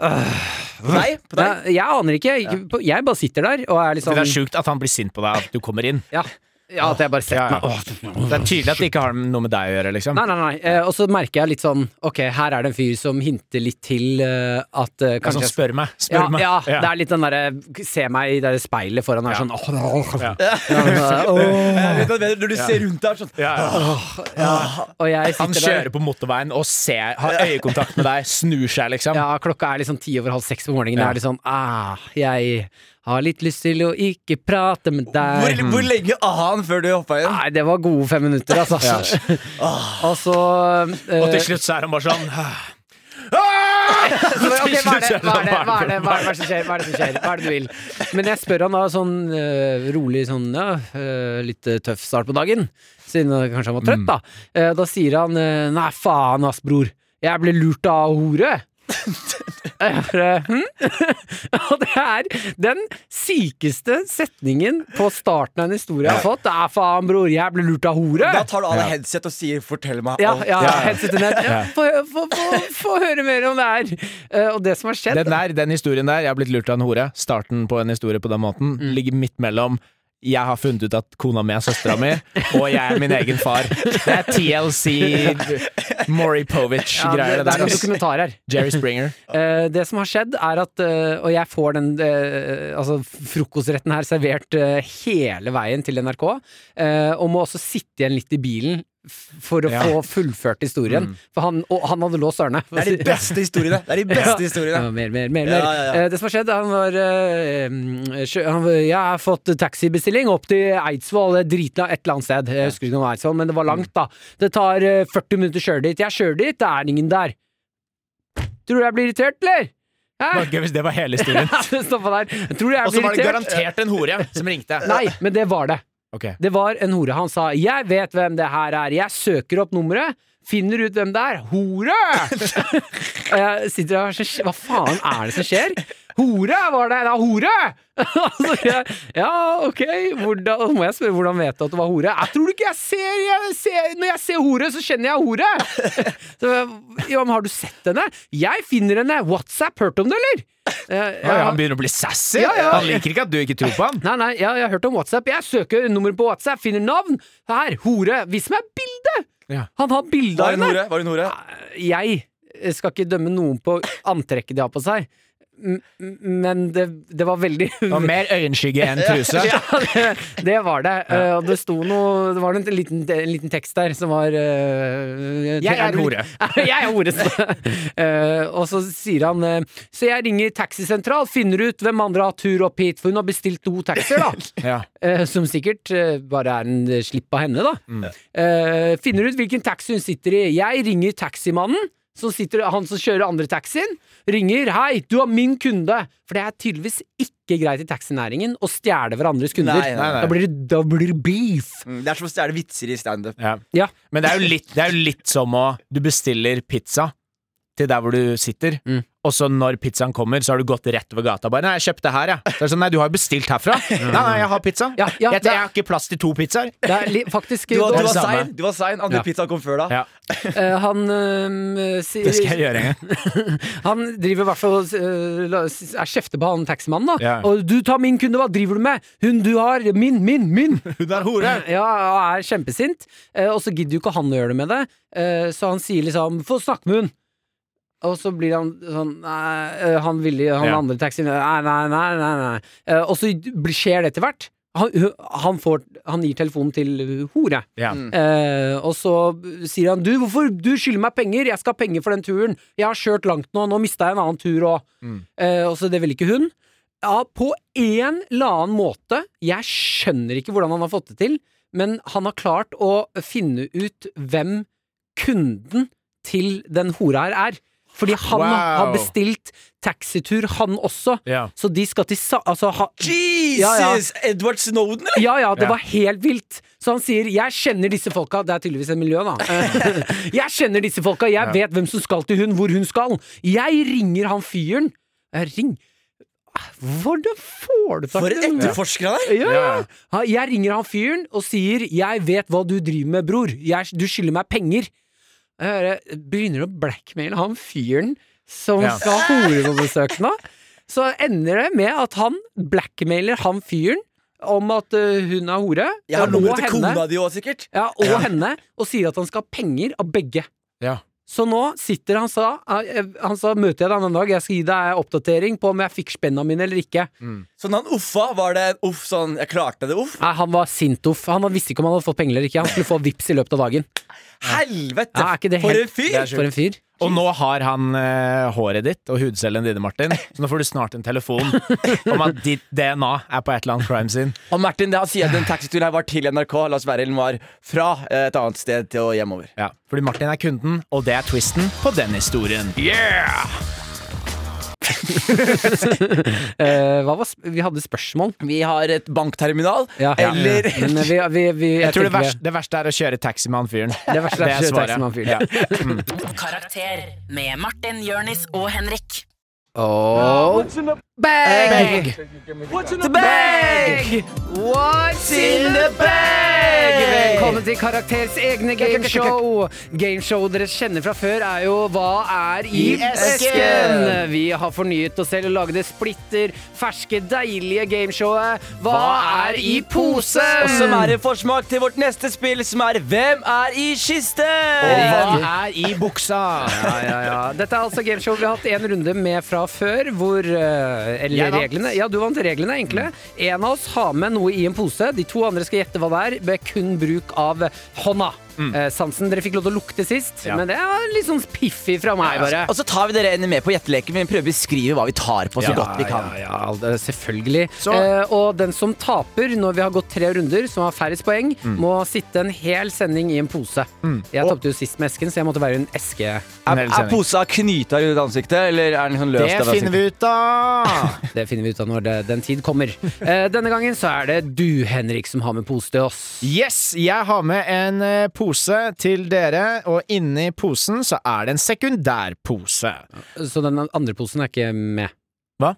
Speaker 3: «Åh,
Speaker 4: På deg? På deg?
Speaker 3: Jeg, jeg aner ikke. Jeg, jeg bare sitter der og er litt
Speaker 5: Det er
Speaker 3: sånn
Speaker 5: sjukt at han blir sint på deg at du kommer inn.
Speaker 3: ja. Ja, at jeg bare
Speaker 5: Ja, ja.
Speaker 3: setter meg Åh.
Speaker 5: Det er tydelig at det ikke har noe med deg å gjøre, liksom.
Speaker 3: Nei, nei, nei. Eh, Og så merker jeg litt sånn Ok, her er det en fyr som hinter litt til eh, at
Speaker 5: Det er
Speaker 3: eh,
Speaker 5: sånn,
Speaker 3: kanskje jeg skal-
Speaker 5: spør meg. Spør
Speaker 3: ja,
Speaker 5: meg.
Speaker 3: ja, det er litt den derre Se meg i det der speilet foran her,
Speaker 5: Ja.
Speaker 3: sånn åh, åh,
Speaker 5: Ja.
Speaker 3: åh, åh.
Speaker 4: Jeg Eh, vet hva det er, Når du ser rundt deg sånn
Speaker 5: Ja, ja.
Speaker 3: Og jeg
Speaker 5: Han
Speaker 3: sitter der
Speaker 5: kjører på motorveien og ser, har øyekontakt med deg, snur seg, liksom.
Speaker 3: ja, klokka er liksom ti over halv seks på morgenen.
Speaker 5: Ja.
Speaker 3: Jeg er litt sånn ah, Jeg har litt lyst til å ikke prate med
Speaker 4: hvor,
Speaker 3: deg.
Speaker 4: hvor lenge aha han før du hoppa igjen?
Speaker 3: Nei, det var gode fem minutter, altså. Og så eh,
Speaker 5: Og til slutt så er han bare sånn «Ah!»
Speaker 3: Så bare, ok, hva er det- hva er det- hva er det-
Speaker 5: Hva
Speaker 3: hva er det som skjer? Hva er det som skjer? Hva er det du vil? Men jeg spør han da sånn eh, rolig sånn ja, eh, litt eh, tøff start på dagen, siden eh, kanskje han var trøtt, da. Eh, da sier han eh, nei, faen ass, bror. Jeg ble lurt av hore. Og jeg bare, hm? Og det er den sykeste setningen på starten av en historie jeg har fått. Det er faen, bror, jeg ble lurt av hore.
Speaker 4: Da tar du av deg
Speaker 5: Ja.
Speaker 4: headset og sier 'fortell meg
Speaker 3: Ja,
Speaker 4: alt'.
Speaker 3: ja,
Speaker 5: Ja.
Speaker 3: headset i nett. Ja, Få få- få- få høre mer om det her. Eh, og det som har skjedd
Speaker 5: Den, der, den historien der, jeg har blitt lurt av en hore, starten på en historie på den måten,
Speaker 3: Mm.
Speaker 5: ligger midt mellom jeg har funnet ut at kona mi er søstera mi, og jeg er min egen far. Det er TLC, Maury
Speaker 3: Ja,
Speaker 5: Povich-greier, der.
Speaker 3: det, det er
Speaker 5: Altså,
Speaker 3: noen
Speaker 5: ass.
Speaker 3: dokumentar her.
Speaker 5: Jerry Springer.
Speaker 3: Eh, det som har skjedd, er at eh, Og jeg får den eh, altså frokostretten her servert eh, hele veien til NRK, eh, og må også sitte igjen litt i bilen. f- For å
Speaker 5: Ja.
Speaker 3: få fullført historien. For han, og han hadde låst ørene.
Speaker 4: Det er de beste historiene. Det er de beste historiene
Speaker 3: Ja, mer, mer, mer. mer.
Speaker 4: Ja, ja, ja.
Speaker 3: Eh, det som har skjedd, han var, eh, mm, sjø- han var Jeg har fått taxibestilling opp til Eidsvoll, eh, dritla et eller annet sted. Jeg husker ikke om det var Eidsvoll, men det var langt, da. Det tar eh, 40 minutter å kjøre dit. Jeg kjører dit, det er ingen der. Tror du jeg blir irritert, eller?
Speaker 5: Det
Speaker 3: Hæ?
Speaker 5: var gøy hvis det var hele historien.
Speaker 3: Det stoppa der. Tror du jeg
Speaker 5: Og så var
Speaker 3: blir
Speaker 5: det
Speaker 3: irritert?
Speaker 5: garantert en hore som ringte.
Speaker 3: Nei, men det var det.
Speaker 5: Ok.
Speaker 3: Det var en hore. Han sa 'jeg vet hvem det her er', jeg søker opp nummeret. Finner ut hvem det er. Hore! og jeg sitter der og så, Hva faen er det som skjer? Hore var det! Det er hore! Og så sier jeg, ja, ok, hvordan, og så må jeg spørre hvordan vet du at det var hore? Jeg tror du ikke jeg ser, jeg ser Når jeg ser hore, så kjenner jeg hore! Så, jeg, ja, men har du sett henne? Jeg finner henne! WhatsApp, hørt om det, eller? Eh,
Speaker 5: Ja, ja,
Speaker 3: ja.
Speaker 5: han begynner å bli sassy.
Speaker 3: Ja, ja.
Speaker 5: Han liker ikke at du ikke tror på han.
Speaker 3: Nei, nei, ja, jeg har hørt om WhatsApp. Jeg søker nummeret på WhatsApp, finner navn. Her, hore. Vis meg bildet!
Speaker 5: Ja.
Speaker 3: Han har bilde
Speaker 4: Var
Speaker 3: av
Speaker 4: hun
Speaker 3: henne!
Speaker 4: hore? Var hun hore?
Speaker 3: Jeg eh, skal ikke dømme noen på antrekket de har på seg, m m- men det, det var veldig
Speaker 5: Og mer øyenskygge enn truse.
Speaker 3: ja, det, det var det. Eh, og det sto noe Det var en liten, en liten tekst der som var eh,
Speaker 5: Jeg er hore.
Speaker 3: jeg er hore. så- Eh, og så sier han eh, Så jeg ringer taxisentral, finner ut hvem andre har tur opp hit, for hun har bestilt to taxier, da.
Speaker 5: Ja.
Speaker 3: Eh, som sikkert eh, bare er en eh, slipp av henne, da.
Speaker 5: Mm.
Speaker 3: Eh, finner ut hvilken taxi hun sitter i. Jeg ringer taximannen. Som sitter, han som kjører andre taxien, ringer 'Hei, du er min kunde'. For det er tydeligvis ikke greit i taxinæringen å stjele hverandres kunder.
Speaker 4: Nei, nei,
Speaker 5: nei.
Speaker 3: Da, blir det, da blir det beef.
Speaker 4: Mm, Det er som å stjele vitser i standup.
Speaker 5: Ja.
Speaker 3: Ja.
Speaker 5: Men det er, jo litt, det er jo litt som å Du bestiller pizza til der hvor du sitter,
Speaker 3: Mm.
Speaker 5: og så når pizzaen kommer, så har du gått rett over gata. Bare, 'Nei, jeg kjøpte her, jeg.' Så er det sånn, 'Nei, du har jo bestilt herfra.' 'Nei, nei, jeg har pizza.
Speaker 3: Ja, ja,
Speaker 5: jeg,
Speaker 3: det
Speaker 5: jeg
Speaker 3: er-
Speaker 5: har ikke plass til to pizzaer.'
Speaker 3: Det er li, faktisk
Speaker 4: Du var, du
Speaker 5: det
Speaker 4: var
Speaker 5: samme.
Speaker 4: sein. Du var sein. Andre
Speaker 3: Ja.
Speaker 4: pizza kom før da.
Speaker 5: Ja,
Speaker 3: Eh, Han eh, sier
Speaker 5: det skal jeg gjøre en gang.
Speaker 3: Han driver i hvert fall og eh, la- er kjefter på han taximannen, da.
Speaker 5: Ja.
Speaker 3: Og 'du tar min kunde, hva driver du med?' 'Hun du har, min, min, min'.
Speaker 5: Hun er hore!
Speaker 3: Ja, og er kjempesint. Eh, Og så gidder jo ikke han å gjøre det med det, Eh, så han sier liksom 'få snakke med hun'. Og så blir han sånn Nei, eh, han ville Han
Speaker 5: Ja.
Speaker 3: andre taxien Nei, nei, nei, nei, nei. Eh, Og så blir- skjer det etter hvert. Han, hun- han, får, han gir telefonen til hore.
Speaker 5: Ja.
Speaker 3: Eh, og så sier han 'du, hvorfor du skylder meg penger? Jeg skal ha penger for den turen. Jeg har kjørt langt nå. Nå mista jeg en annen tur òg.'
Speaker 5: Mm.
Speaker 3: Eh, og så det vil ikke hun. Ja, på en eller annen måte. Jeg skjønner ikke hvordan han har fått det til, men han har klart å finne ut hvem kunden til den hora her er. Fordi han
Speaker 5: Wow.
Speaker 3: har bestilt taxitur, han også.
Speaker 5: Ja.
Speaker 3: Så de skal til sa... Altså, ha,
Speaker 4: Jesus!
Speaker 3: Ja, ja.
Speaker 4: Edward Snowden, eller?
Speaker 3: ja, ja, det
Speaker 5: Ja.
Speaker 3: var helt vilt. Så han sier 'jeg kjenner disse folka'. Det er tydeligvis et miljø, da. Eh, 'Jeg kjenner disse folka, jeg
Speaker 5: Ja.
Speaker 3: vet hvem som skal til hun, hvor hun skal'. Jeg ringer han fyren. Jeg ring... Hvordan får du tak
Speaker 4: For
Speaker 3: i
Speaker 4: en
Speaker 3: den?
Speaker 4: etterforsker han er!
Speaker 3: Ja, ja.
Speaker 5: Ja.
Speaker 3: Ha, Jeg ringer han fyren og sier 'jeg vet hva du driver med, bror. Jeg, du skylder meg penger'. Jeg hører- begynner å blackmaile han fyren som
Speaker 5: Ja.
Speaker 3: skal ha hore på besøk nå. Så ender det med at han blackmailer han fyren. om at eh, hun er hore.
Speaker 4: Jeg har
Speaker 3: og
Speaker 4: nummeret til
Speaker 3: henne.
Speaker 4: kona di òg, sikkert.
Speaker 3: Ja, og
Speaker 5: Ja.
Speaker 3: henne, og sier at han skal ha penger av begge.
Speaker 5: Ja.
Speaker 3: Så nå sitter han sa Han sa møter jeg deg en annen dag, jeg skal gi deg oppdatering på om jeg fikk spenna mine eller ikke.
Speaker 4: Så når Sånn, han uffa, var det en uff sånn Jeg klarte det, uff.
Speaker 3: Nei, han var sintoff. Han visste ikke om han hadde fått penger eller ikke. Han skulle få vips i løpet av dagen.
Speaker 4: Helvete!
Speaker 3: Ja, er ikke det
Speaker 4: For
Speaker 3: helt-
Speaker 4: en
Speaker 5: Det
Speaker 4: fyr!
Speaker 5: er sjukt.
Speaker 3: For en fyr.
Speaker 5: Og nå har han eh, håret ditt og hudcellene dine, Martin. Så nå får du snart en telefon om at ditt DNA er på et eller annet crime scene.
Speaker 4: Og Martin, det han sier at den taxituren her var til NRK. La oss være den var fra eh, et annet sted til og hjemover.
Speaker 5: Ja, fordi Martin er kunden, og det er twisten på den historien.
Speaker 3: Eh, hva var sp vi hadde spørsmål.
Speaker 4: Vi har et bankterminal,
Speaker 3: Ja.
Speaker 4: eller
Speaker 3: Ja. Men eh, vi, vi, vi, jeg
Speaker 5: Jeg tror det
Speaker 3: tenker vi-
Speaker 5: verste, det verste er å kjøre taxi med han fyren.
Speaker 3: det verste er å kjøre taxi med han fyren.
Speaker 5: Ja.
Speaker 2: Karakter med Martin, Jørnis og Henrik.
Speaker 3: Oh. Bag! The bag! What's in the bag? Velkommen til Karakters egne gameshow. Gameshow dere kjenner fra før er jo Hva er i
Speaker 5: I esken?
Speaker 3: esken? Vi har fornyet oss selv og laget det splitter ferske, deilige gameshowet Hva er i posen?
Speaker 4: Og som er en forsmak til vårt neste spill, som er Hvem er i kisten?
Speaker 5: Og hva er i buksa?
Speaker 3: Ja, ja, ja. Dette er altså gameshow vi har hatt en runde med fra før, hvor eh,
Speaker 5: Jeg
Speaker 3: Eller
Speaker 5: vant.
Speaker 3: reglene. Ja, du vant reglene, er enkle. En av oss har med noe i en pose. De to andre skal gjette hva det er, ved kun bruk av hånda. Eh, sansen dere fikk lov til å lukte sist,
Speaker 5: Mm. Ja.
Speaker 3: men det er litt sånn piffig fra meg, bare.
Speaker 4: Og så tar vi dere med på gjetteleken, men prøver å beskrive hva vi tar på så godt vi kan.
Speaker 3: Ja, ja, ja, det er selvfølgelig.
Speaker 5: Så-
Speaker 3: Eh, og den som taper når vi har gått tre runder, som har færrest poeng,
Speaker 5: Mm.
Speaker 3: må sitte en hel sending i en pose. Jeg tapte jo sist med esken, så jeg måtte være i en eske.
Speaker 5: En
Speaker 4: Er,
Speaker 5: hel
Speaker 4: er
Speaker 5: sending.
Speaker 4: posa knyta rundt ansiktet, eller er den liksom løs?
Speaker 5: Det finner vi ut av!
Speaker 3: Det finner vi ut av når det, den tid kommer. Eh, denne gangen så er det du, Henrik, som har med pose til oss.
Speaker 5: Yes, jeg har med en eh, pose til dere, og inni posen så er det en sekundærpose.
Speaker 3: Så den andre posen er ikke med.
Speaker 5: Hva?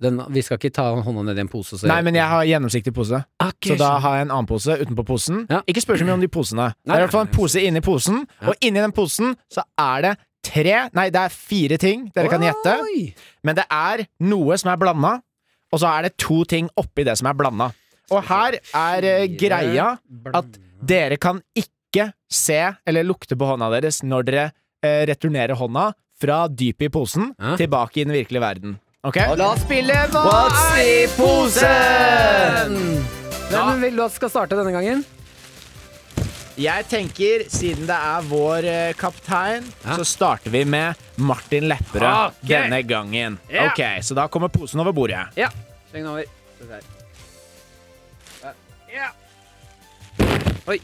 Speaker 3: Den, vi skal ikke ta hånda ned i en pose. Så Ah,
Speaker 5: Nei, men jeg har gjennomsiktig pose,
Speaker 3: Ok,
Speaker 5: så da har jeg en annen pose utenpå posen.
Speaker 3: Ja.
Speaker 5: Ikke spør så mye om de posene. Det
Speaker 3: Nei,
Speaker 5: er i hvert fall
Speaker 3: nei,
Speaker 5: en pose inni posen, og inni den posen så er det tre, nei det er fire ting dere kan gjette,
Speaker 3: Oi.
Speaker 5: men det er noe som er blanda, og så er det to ting oppi det som er blanda. Og her er eh, greia at dere kan ikke se eller lukte på hånda deres når dere eh, returnerer hånda fra dypet i posen
Speaker 3: Hæ?
Speaker 5: tilbake i den virkelige verden. Ok?
Speaker 3: La oss spille Hva
Speaker 5: What's
Speaker 3: er
Speaker 5: i posen?
Speaker 3: Hvem vil du at skal starte denne gangen?
Speaker 5: Jeg tenker, siden det er vår eh, kaptein,
Speaker 3: Hæ?
Speaker 5: så starter vi med Martin Lepperød
Speaker 3: Ok.
Speaker 5: denne gangen.
Speaker 3: Ja.
Speaker 5: Ok, Så da kommer posen over bordet.
Speaker 3: Ja. Sleng den over. Se der. Ja. Oi.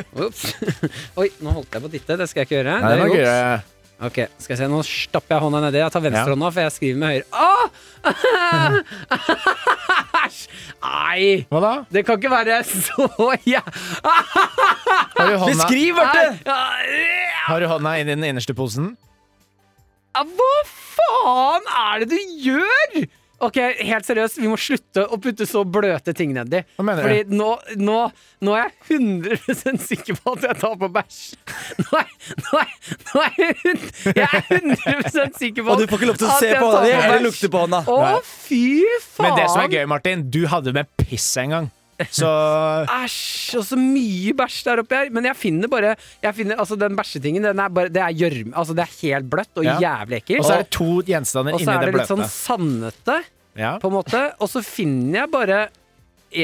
Speaker 3: Ops. Oi, nå holdt jeg på å titte. Det skal jeg ikke gjøre.
Speaker 5: Nei, det var
Speaker 3: ops.
Speaker 5: gøy.
Speaker 3: Ok, skal jeg se, nå stapper jeg hånda nedi. Jeg tar
Speaker 5: Ja.
Speaker 3: venstrehånda, for jeg skriver med høyre. Åh! Æsj! Nei!
Speaker 5: Hva da?
Speaker 3: Det kan ikke være så ja.
Speaker 5: Har du hånda,
Speaker 4: Beskriv, Bjarte!
Speaker 3: Nei.
Speaker 5: har du hånda inni den innerste posen?
Speaker 3: Ja, Hva faen er det du gjør?! Ok, helt seriøst, vi må slutte å putte så bløte ting nedi.
Speaker 5: Hva mener
Speaker 3: Fordi nå, nå, nå er jeg 100 sikker på at jeg tar på bæsj. Nå er, nå er, nå er jeg, hund- jeg er 100 sikker på
Speaker 4: Og du får ikke lov til å
Speaker 3: at
Speaker 4: se
Speaker 3: jeg
Speaker 4: på
Speaker 3: tar
Speaker 4: hånda di, eller
Speaker 3: bæsj.
Speaker 4: lukte på hånda.
Speaker 3: Å,
Speaker 5: Nei.
Speaker 3: fy faen!
Speaker 5: Men det som er gøy, Martin, du hadde med piss en gang. Så
Speaker 3: Æsj, og så mye bæsj der oppe her. Men jeg finner bare jeg finner, altså Den bæsjetingen, den er bare, det er gjørme. Altså, det er helt bløtt og
Speaker 5: Ja.
Speaker 3: jævlig
Speaker 5: Og
Speaker 3: ekkelt.
Speaker 5: så er det to gjenstander
Speaker 3: Og så
Speaker 5: inni
Speaker 3: er
Speaker 5: det
Speaker 3: det litt
Speaker 5: bløte.
Speaker 3: sånn sandete,
Speaker 5: Ja.
Speaker 3: på en måte. Og så finner jeg bare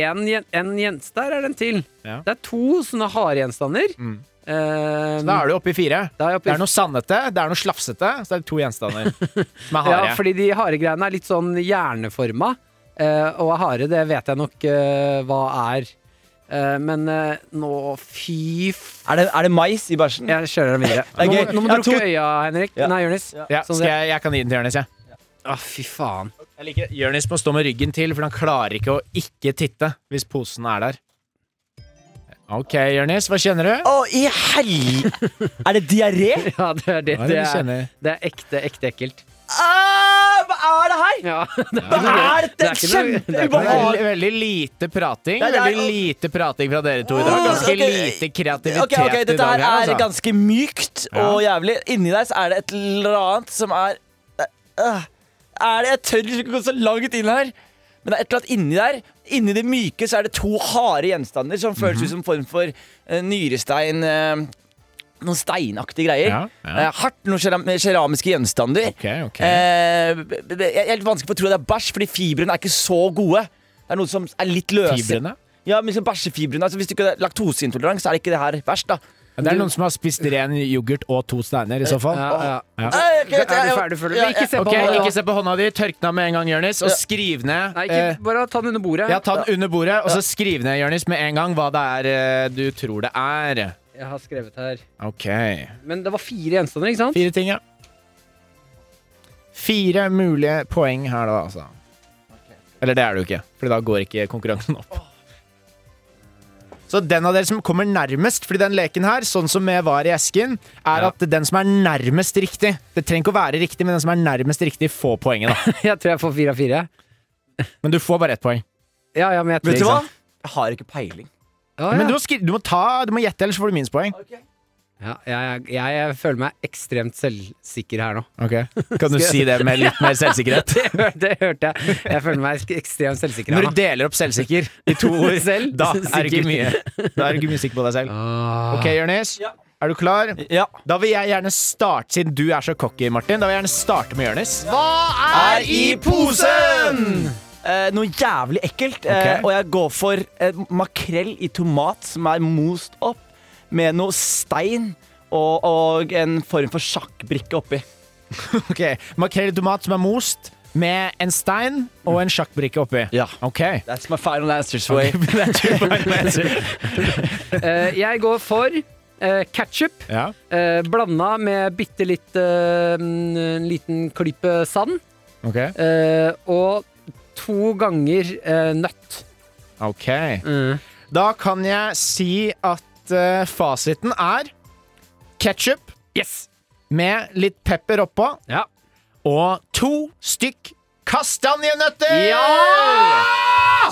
Speaker 3: en, gjen- en gjenst Der er den til.
Speaker 5: Ja. Mm.
Speaker 3: Det er to sånne harde gjenstander. Eh,
Speaker 5: Da er du oppe i fire.
Speaker 3: da er jeg oppe i-
Speaker 5: Det er noe sandete, det er noe slafsete, så det er to gjenstander som er harde.
Speaker 3: Ja, fordi de harde greiene er litt sånn hjerneforma. eh, og harde, det vet jeg nok eh, hva er. Eh, men eh, nå, fy f...
Speaker 4: Er det, er det mais i bæsjen?
Speaker 3: Jeg kjører den videre. Nå,
Speaker 4: er
Speaker 3: må-
Speaker 4: gøy.
Speaker 3: nå må du
Speaker 4: Jeg
Speaker 3: lukke
Speaker 4: tror-
Speaker 3: øya, Henrik.
Speaker 4: Ja.
Speaker 3: Nei, Jonis.
Speaker 5: Ja, skal
Speaker 3: Sånn det-
Speaker 5: jeg, jeg kan gi den til Jonis, jeg.
Speaker 3: Å, fy faen.
Speaker 5: Jeg liker Jonis må stå med ryggen til, for han klarer ikke å ikke titte hvis posen er der. OK, Jonis, hva kjenner du?
Speaker 4: Å, i hel... Er det diaré?
Speaker 3: Ja, det er, det,
Speaker 5: Hva er det
Speaker 3: det
Speaker 5: du
Speaker 3: er,
Speaker 5: kjenner?
Speaker 3: det er ekte, ekte ekkelt.
Speaker 4: Ah, hva er det her?
Speaker 3: Ja, det er,
Speaker 4: Hva er
Speaker 3: det
Speaker 4: det?
Speaker 3: er ikke noe- det er ikke noe-
Speaker 5: Veldig, veldig lite prating.
Speaker 4: Nei, det er-
Speaker 5: Veldig lite prating fra dere to i dag. Ganske
Speaker 4: Ok.
Speaker 5: lite kreativitet
Speaker 4: Ok, ok,
Speaker 5: i
Speaker 4: Dette
Speaker 5: dag.
Speaker 4: her er
Speaker 5: altså.
Speaker 4: ganske mykt og jævlig. Inni deg så er det et eller annet som er Øh, Er det Jeg tør ikke gå så langt inn her. Men det er et eller annet inni der. Inni det myke så er det to harde gjenstander som
Speaker 5: Mhm.
Speaker 4: føles ut som form for eh, nyrestein. eh, noen steinaktige greier.
Speaker 5: Ja, ja.
Speaker 4: Eh, hardt, noen keram keramiske gjenstander.
Speaker 5: Ok, ok.
Speaker 4: Eh, b- b- det er helt vanskelig for å tro at det er bæsj, fordi fibrene er ikke så gode. Det er noe som er litt løse.
Speaker 5: Fibrene?
Speaker 4: Ja, men liksom bæsjefibrene. Altså, hvis du ikke er laktoseintolerant, så er det ikke det her verst, da.
Speaker 5: Det er noen som har spist ren yoghurt og to steiner, i så fall.
Speaker 3: Ja, ja.
Speaker 5: Ja.
Speaker 4: Eh, ok, jeg-
Speaker 3: Er du
Speaker 4: jeg-
Speaker 3: ferdig, føler du?
Speaker 4: Ja,
Speaker 3: Men ikke se på
Speaker 5: Ok,
Speaker 3: meg nå.
Speaker 5: Ikke se på hånda di, tørk den av med en gang, Jonis, og skriv ned
Speaker 3: Nei,
Speaker 5: eh,
Speaker 3: ikke, bare ta den under bordet.
Speaker 5: Ja, ta den under bordet, og så skriv ned, Jonis, med en gang hva det er eh, du tror det er.
Speaker 3: Jeg har skrevet her.
Speaker 5: Ok.
Speaker 3: Men det var fire gjenstander, ikke sant?
Speaker 5: Fire ting, ja. Fire mulige poeng her, da, altså. Eller det er det jo ikke, for da går ikke konkurransen opp. Så den av dere som kommer nærmest, fordi den leken her, sånn som med var i esken, er at den som er nærmest riktig Det trenger ikke å være riktig, men den som er nærmest riktig, får poenget, da.
Speaker 3: Jeg tror jeg får fire av fire.
Speaker 5: Men du får bare ett poeng.
Speaker 3: Ja, ja, men jeg tror
Speaker 4: Vet du
Speaker 3: ikke
Speaker 4: hva?
Speaker 3: sant.
Speaker 4: Jeg har ikke peiling.
Speaker 3: Ja, ja.
Speaker 5: Men du må, skri du må ta, du må gjette, ellers får du minuspoeng.
Speaker 3: ja, jeg, jeg, jeg føler meg ekstremt selvsikker her nå.
Speaker 5: Kan du si det med litt mer selvsikkerhet?
Speaker 3: Det, hør- det hørte jeg. Jeg føler meg ek- ekstremt selvsikker
Speaker 5: Når
Speaker 3: her
Speaker 5: du
Speaker 3: nå.
Speaker 5: deler opp selvsikker i to ord,
Speaker 3: Selv-
Speaker 5: da er du ikke
Speaker 3: sikker.
Speaker 5: mye Da er du ikke mye sikker på deg selv.
Speaker 3: Ah.
Speaker 5: Ok, Jonis. Er du klar?
Speaker 4: Ja.
Speaker 5: Da vil jeg gjerne starte, siden du er så cocky, Martin. Da vil jeg gjerne starte med Jonis.
Speaker 4: er i posen! Eh, noe jævlig ekkelt. Eh,
Speaker 5: Ok.
Speaker 4: og jeg går for eh, makrell i tomat som er most opp med noe stein og, og en form for sjakkbrikke oppi.
Speaker 5: Ok, Makrell i tomat som er most, med en stein og en sjakkbrikke oppi.
Speaker 4: Ja.
Speaker 5: Ok.
Speaker 4: That's my final answer, Sway.
Speaker 3: Eh, jeg går for uh, ketchup
Speaker 5: Ja.
Speaker 3: uh, blanda med bitte litt eh, En liten klype sand.
Speaker 5: Ok.
Speaker 3: eh, og to ganger eh, nøtt.
Speaker 5: Ok.
Speaker 3: Mm.
Speaker 5: Da kan jeg si at eh, fasiten er ketsjup
Speaker 3: Yes!
Speaker 5: med litt pepper oppå
Speaker 3: Ja.
Speaker 5: og to stykk kastanjenøtter!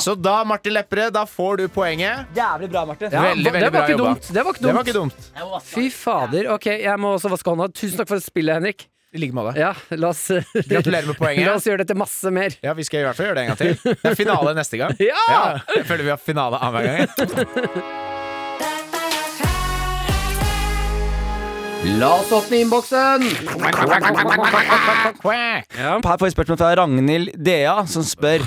Speaker 5: Så da, Martin Lepperød, da får du poenget.
Speaker 4: jævlig bra, Martin.
Speaker 3: Ja,
Speaker 5: Veldig, veldig
Speaker 3: det var
Speaker 5: bra
Speaker 3: ikke
Speaker 5: jobba.
Speaker 3: dumt. Det var ikke
Speaker 5: Det var
Speaker 3: dumt.
Speaker 5: ikke dumt.
Speaker 3: Fy fader. Ok, jeg må også vaske hånda. Tusen takk for spillet, Henrik.
Speaker 5: I like måte.
Speaker 3: Ja, la oss
Speaker 5: Gratulerer med poenget.
Speaker 3: La oss gjøre dette masse mer.
Speaker 5: Ja, vi skal i hvert fall gjøre det en gang til. Det er finale neste gang.
Speaker 3: Ja!
Speaker 5: jeg føler vi har finale annenhver gang.
Speaker 3: La oss åpne innboksen!
Speaker 5: Quack.
Speaker 3: Ja.
Speaker 4: Her får jeg spørsmål fra Ragnhild Dea, som spør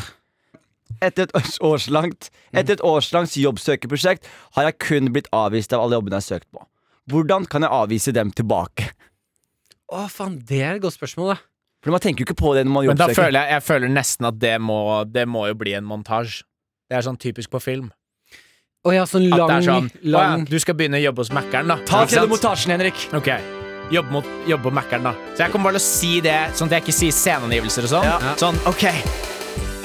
Speaker 4: etter et års- årslangt Etter et årslangt jobbsøkerprosjekt har jeg kun blitt avvist av alle jobbene jeg har søkt på. Hvordan kan jeg avvise dem tilbake?
Speaker 3: Å, faen, det er et godt spørsmål, da.
Speaker 4: For Man tenker jo ikke på det når man
Speaker 5: Men da
Speaker 4: jobbsøker.
Speaker 5: føler jeg, jeg føler nesten at det må, det må jo bli en montasje. Det er sånn typisk på film.
Speaker 3: Å ja, sånn
Speaker 5: At
Speaker 3: lang,
Speaker 5: det er sånn
Speaker 3: lang
Speaker 5: «Å ja, Du skal begynne å jobbe hos Mækkern, da.
Speaker 4: Ta
Speaker 5: Ikke
Speaker 4: til
Speaker 5: sant?
Speaker 4: montasjen, Henrik.
Speaker 5: Ok. Jobbe, mot, jobbe på Mækkern, da. Så jeg kommer bare til å si det, sånn at jeg ikke sier sceneangivelser og sånn.
Speaker 4: Ja.
Speaker 5: Sånn, ok.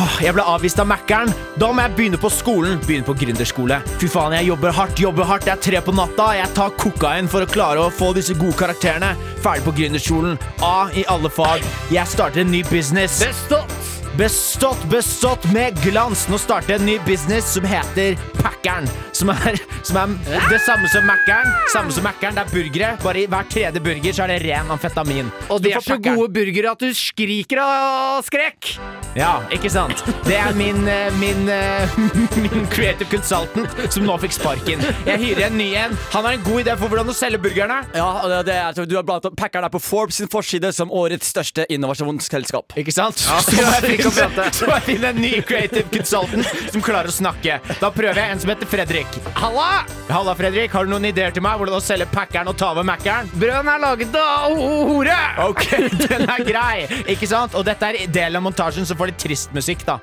Speaker 5: Åh, jeg ble avvist av Mækkern. Da må jeg begynne på skolen. Begynne på gründerskole. Fy faen, jeg jobber hardt, jobber hardt. Det er tre på natta. Jeg tar kokain for å klare å få disse gode karakterene. Ferdig på gründerskolen. A i alle fag. Jeg starter en ny business.
Speaker 3: Bestått!
Speaker 5: Bestått, bestått med glans. Nå starter jeg en ny business som heter Packeren. Som er, som er det samme som Mackeren. Samme som Mackeren, det er burgere. Bare i hver tredje burger så er det ren amfetamin.
Speaker 3: Og
Speaker 5: Du
Speaker 3: det
Speaker 5: får
Speaker 3: er så
Speaker 5: Packeren.
Speaker 3: gode burgere at du skriker av skrekk!
Speaker 5: Ja, ikke sant? Det er min, eh, min, eh, min creative consultant som nå fikk sparken. Jeg hyrer en ny en. Han har en god idé for hvordan å selge burgerne.
Speaker 4: Ja, og det, det er, du har blant annet Packard er på Forbes sin forside som årets største innovasjonsselskap.
Speaker 5: Ikke sant? Så må jeg finne- så må jeg finne en ny creative consultant som klarer å snakke. Da prøver jeg en som heter Fredrik. Halla! Halla, Fredrik. Har du noen ideer til meg hvordan å selge Packeren og ta over Mackeren?
Speaker 3: Brøden er laget av ho- hore!
Speaker 5: Ok, den er grei. Ikke sant? Og dette er delen av montasjen som får litt trist musikk, da.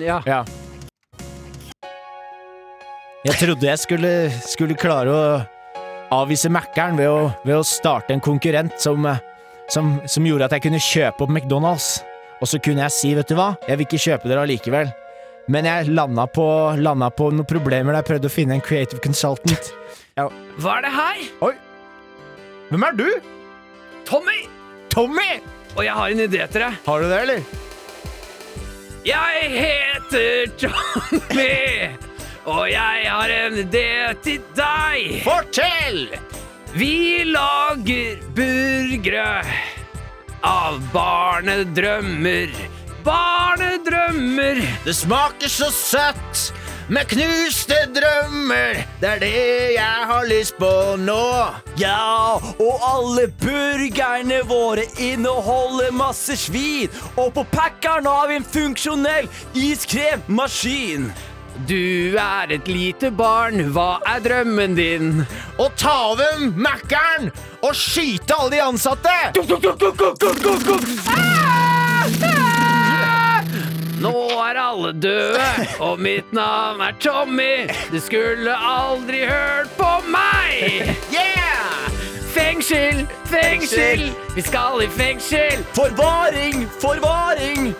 Speaker 3: Ja.
Speaker 5: Ja. Jeg trodde jeg skulle, skulle klare å avvise Mackeren ved, å- ved å starte en konkurrent som, eh, som, som gjorde at jeg kunne kjøpe opp McDonald's. Og så kunne jeg si, vet du hva, jeg vil ikke kjøpe dere allikevel. Men jeg landa på, landa på noen problemer der jeg prøvde å finne en creative consultant.
Speaker 3: Hva er det her?
Speaker 5: Hvem er du?
Speaker 3: Tommy!
Speaker 5: Tommy!
Speaker 3: Og jeg har en idé til deg.
Speaker 5: Har du det, eller?
Speaker 3: Jeg heter Tommy, og jeg har en idé til deg.
Speaker 5: Fortell!
Speaker 3: Vi lager burgere av barnedrømmer. Barnedrømmer! drømmer.
Speaker 5: Det smaker så søtt med knuste drømmer. Det er det jeg har lyst på nå.
Speaker 4: Ja, og alle burgerne våre inneholder masse svin. Og på packeren har vi en funksjonell iskremmaskin.
Speaker 3: Du er et lite barn, hva er drømmen din?
Speaker 5: Å ta over Mækkern og skyte alle de ansatte.
Speaker 3: Nå er alle døde, og mitt navn er Tommy. Du skulle aldri hørt på meg!
Speaker 5: Yeah!
Speaker 3: Fengsel, fengsel, vi skal i fengsel.
Speaker 4: Forvaring, forvaring.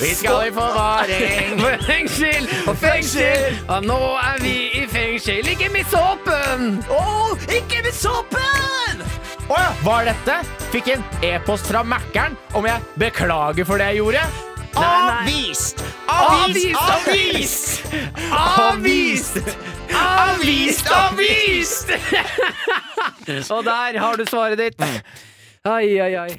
Speaker 3: Vi skal i forvaring. Fengsel og fengsel, og nå er vi i fengsel. Ikke mist håpen!
Speaker 4: Å, ikke med såpen!
Speaker 5: Å ja, hva er dette? Fikk en e-post fra Mækkern om jeg beklager for det jeg gjorde. Avvist! Avvist! Avvist!
Speaker 3: Avvist! Avvist! Avvist! Og der har du svaret ditt. Ai, ai, ai.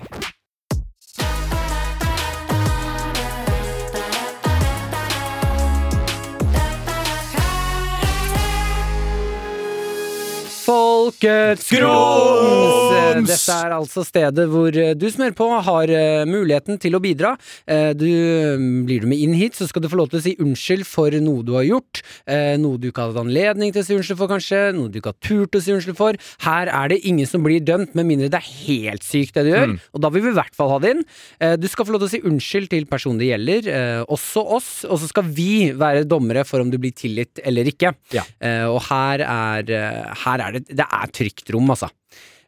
Speaker 3: Folkets grums! Dette er altså stedet hvor eh, du som hører på, har eh, muligheten til å bidra. Eh, Du, mm, blir du med inn hit, så skal du få lov til å si unnskyld for noe du har gjort. eh, Noe du ikke har hatt anledning til å si unnskyld for, kanskje. Noe du ikke har turt å si unnskyld for. Her er det ingen som blir dømt, med mindre det er helt sykt det du gjør. Og da vil vi i hvert fall ha det inn. Eh, Du skal få lov til å si unnskyld til personen det gjelder, eh, også oss. Og så skal vi være dommere for om du blir tilgitt eller ikke.
Speaker 5: Ja.
Speaker 3: Eh, og her er, eh, her er det Det er trygt rom, altså.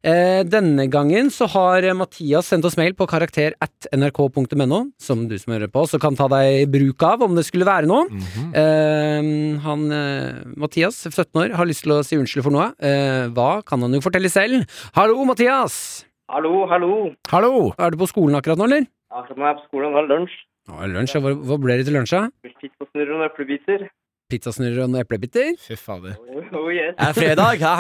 Speaker 3: Eh, denne gangen så har eh, Mathias sendt oss mail på karakter at nrk.no, som du som hører på også kan ta deg i bruk av om det skulle være noe. eh, han, eh, Mathias, 17 år, har lyst til å si unnskyld for noe. Eh, hva kan han jo fortelle selv? Hallo, Mathias!
Speaker 6: Hallo, hallo.
Speaker 5: Hallo!
Speaker 3: Er du på skolen akkurat nå, eller?
Speaker 6: Akkurat nå er jeg på skolen, nå er det lunsj.
Speaker 3: Å, lunsj, ja. hva, hva ble det til lunsj, da?
Speaker 6: Pizzasnurrer og nøklebiter.
Speaker 3: Pizzasnurrer og noen eplebiter?
Speaker 5: Fy fader.
Speaker 6: Oh, oh yes.
Speaker 4: Det er fredag, det er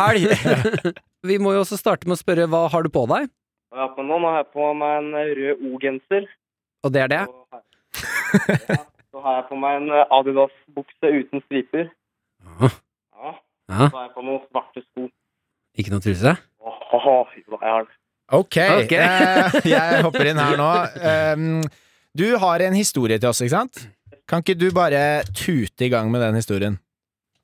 Speaker 4: helg.
Speaker 3: Vi må jo også starte med å spørre hva har du på deg?
Speaker 6: Hva har jeg på nå? Nå har jeg på meg en eh, rød O-genser.
Speaker 3: Og det er det?
Speaker 6: Og her- Ja, Så har jeg på meg en eh, Adidas-bukse uten striper.
Speaker 3: Ja.
Speaker 6: Ja.
Speaker 3: Ja.
Speaker 6: Så har jeg på noen svarte sko.
Speaker 3: Ikke noe truse?
Speaker 6: Åh, jo da, jeg har det.
Speaker 5: Ok,
Speaker 3: Ok.
Speaker 5: eh, jeg hopper inn her nå. Um, du har en historie til oss, ikke sant? Kan ikke du bare tute i gang med den historien?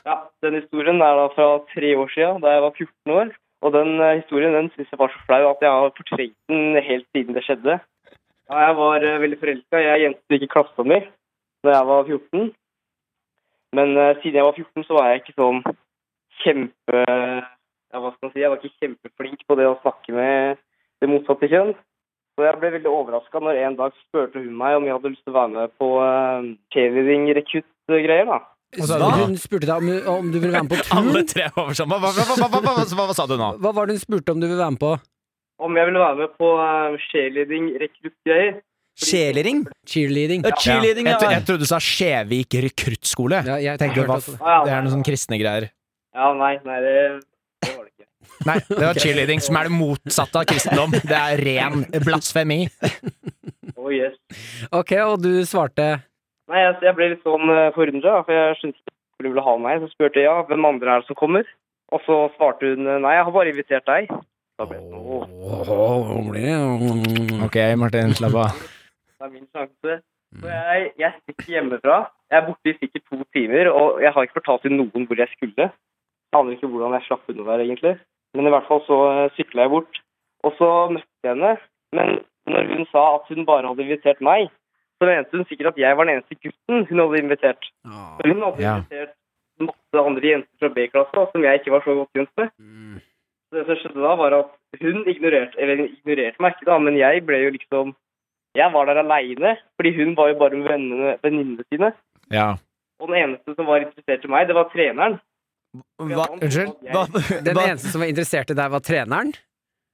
Speaker 6: Ja, den historien er da fra tre år siden, da jeg var 14 år. Og den eh, historien den synes jeg var så flau at jeg har fortrengt den helt siden det skjedde. Ja, jeg var eh, veldig forelska. Jeg er jente i klassa mi da jeg var 14. Men eh, siden jeg var 14, så var jeg ikke sånn kjempe... Ja, hva skal man si? Jeg var ikke kjempeflink på det å snakke med det motsatte kjønn. Så jeg ble veldig overraska når en dag spurte hun meg om jeg hadde lyst til å være med på uh, cheerleading-rekrutt-greier. eh, da.
Speaker 5: sa
Speaker 3: Hva?
Speaker 5: du?
Speaker 3: Hun spurte deg om, du- om du ville være med på tur.
Speaker 5: tre over sammen. Hva, hva, hva, hva, hva, hva, hva sa du nå?
Speaker 3: Hva var det hun spurte om du ville være med på?
Speaker 6: Om jeg ville være med på uh, cheerleading-rekruttgreier?
Speaker 4: Sjelering.
Speaker 3: Cheerleading.
Speaker 4: Ja, cheerleading,
Speaker 5: Jeg, tro-
Speaker 4: ja.
Speaker 5: jeg trodde du sa Skjevik rekruttskole.
Speaker 3: Ja, jeg
Speaker 5: Tenkte
Speaker 3: hørte
Speaker 5: hva
Speaker 3: også
Speaker 5: f-
Speaker 3: det.
Speaker 6: Ah, ja,
Speaker 5: Det er noen
Speaker 6: nei.
Speaker 5: sånne kristne greier.
Speaker 6: Ja, nei, nei, det, det var det ikke.
Speaker 5: Nei, det var cheerleading, som er det motsatte av kristendom. Det er ren blasfemi.
Speaker 6: Oh, yes.
Speaker 3: Ok, og du svarte
Speaker 6: Nei, jeg, jeg ble litt sånn uh, forundra, for jeg skjønte ikke hvor du ville ha meg. Så spurte jeg ja, hvem andre er det som kommer? Og så svarte hun eh, nei, jeg har bare invitert deg. Da ble jeg sånn, åh,
Speaker 3: Ok.
Speaker 5: Ok, Martin, slapp av.
Speaker 6: det er min sjanse. Så jeg, jeg stikker hjemmefra. Jeg er borte i sikkert to timer, og jeg har ikke fortalt til noen hvor jeg skulle. Jeg aner ikke hvordan jeg slapp unna der, egentlig. Men i hvert fall så sykla jeg bort. Og så møtte jeg henne. Men når hun sa at hun bare hadde invitert meg, så mente hun sikkert at jeg var den eneste gutten hun hadde invitert. Men hun hadde
Speaker 5: Ja.
Speaker 6: invitert masse andre jenter fra B-klassa som jeg ikke var så godt kjent med.
Speaker 5: Mm.
Speaker 6: Så det som skjedde da, var at hun ignorerte Eller hun ignorerte meg ikke, da, men jeg ble jo liksom Jeg var der aleine, fordi hun var jo bare med vennene- venninnene sine.
Speaker 5: Ja.
Speaker 6: Og den eneste som var interessert i meg, det var treneren.
Speaker 4: Hva?
Speaker 6: Han-
Speaker 5: Unnskyld?
Speaker 6: jeg-
Speaker 4: Hva?
Speaker 3: Den
Speaker 4: Hva?
Speaker 3: eneste som var interessert i deg, var treneren.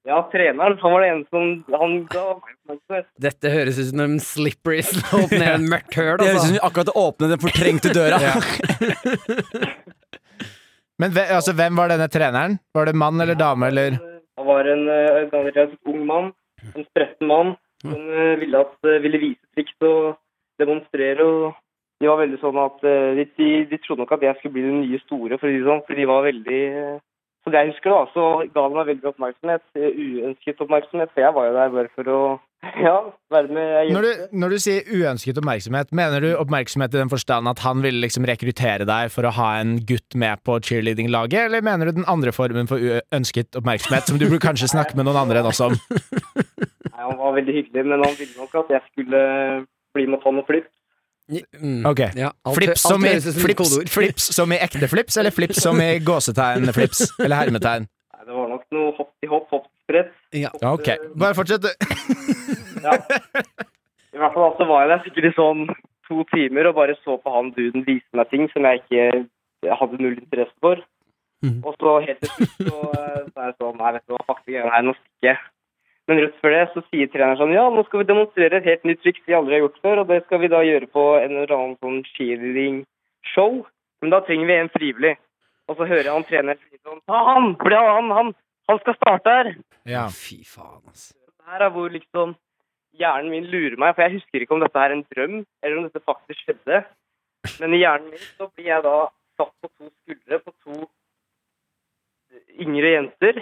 Speaker 6: Ja, treneren. Han var den eneste som Han ga meg oppmerksomhet.
Speaker 3: Dette høres ut som en slippery slope ned en mørkt høl.
Speaker 4: Det høres ut som
Speaker 3: Altså.
Speaker 4: vi akkurat åpnet den fortrengte døra.
Speaker 5: Men hve- altså, hvem var denne treneren? Var det mann eller dame, eller
Speaker 6: Han var en eh, en relativt ung mann. En spretten mann. Som eh, ville, at, eh, ville vise triks og demonstrere. og De var veldig sånn at eh, de, de, de trodde nok at jeg skulle bli den nye store, for å si det sånn. For de var veldig eh, Så det jeg husker, da, så ga de meg veldig oppmerksomhet. eh, Uønsket oppmerksomhet. For jeg var jo der bare for å ja, være med. Jeg,
Speaker 5: Når du, når du sier uønsket oppmerksomhet, mener du oppmerksomhet i den forstand at han ville liksom rekruttere deg for å ha en gutt med på cheerleading-laget, eller mener du den andre formen for uønsket oppmerksomhet, som du burde kanskje snakke med noen andre enn oss om?
Speaker 6: nei, han var veldig hyggelig, men han ville nok at jeg skulle eh, bli med og ta noen flipp.
Speaker 3: Mm.
Speaker 5: Ok.
Speaker 3: Ja, alt,
Speaker 5: Flips som, i,
Speaker 3: høres ut som et
Speaker 5: flips,
Speaker 3: kodeord.
Speaker 5: flips som i ekte flips, eller flips som i gåsetegn-flips? Eller hermetegn?
Speaker 6: Nei, det var nok noe hopp i hopp, hopp til sprett.
Speaker 3: Ja.
Speaker 5: Ok, bare fortsett, du.
Speaker 6: Ja. I hvert fall altså, var jeg der sikkert i sånn to timer og bare så på han duden vise meg ting som jeg ikke jeg hadde null interesse for.
Speaker 3: Mhm.
Speaker 6: Og så helt til slutt så eh, så er jeg sånn Nei, vet du hva, fuck det greiene her, nå stikker jeg. Men rett før det så sier treneren sånn Ja, nå skal vi demonstrere et helt nytt triks vi aldri har gjort før, og det skal vi da gjøre på en eller annen sånn cheerleading-show. Men da trenger vi en frivillig. Og så hører jeg han treneren si sånn Ta han! For det er han, han, han skal starte her!
Speaker 5: Ja.
Speaker 3: Fy faen, altså.
Speaker 6: Det her er hvor liksom hjernen min lurer meg, for jeg husker ikke om dette er en drøm, eller om dette faktisk skjedde. Men i hjernen min så blir jeg da satt på to skuldre på to eh, yngre jenter,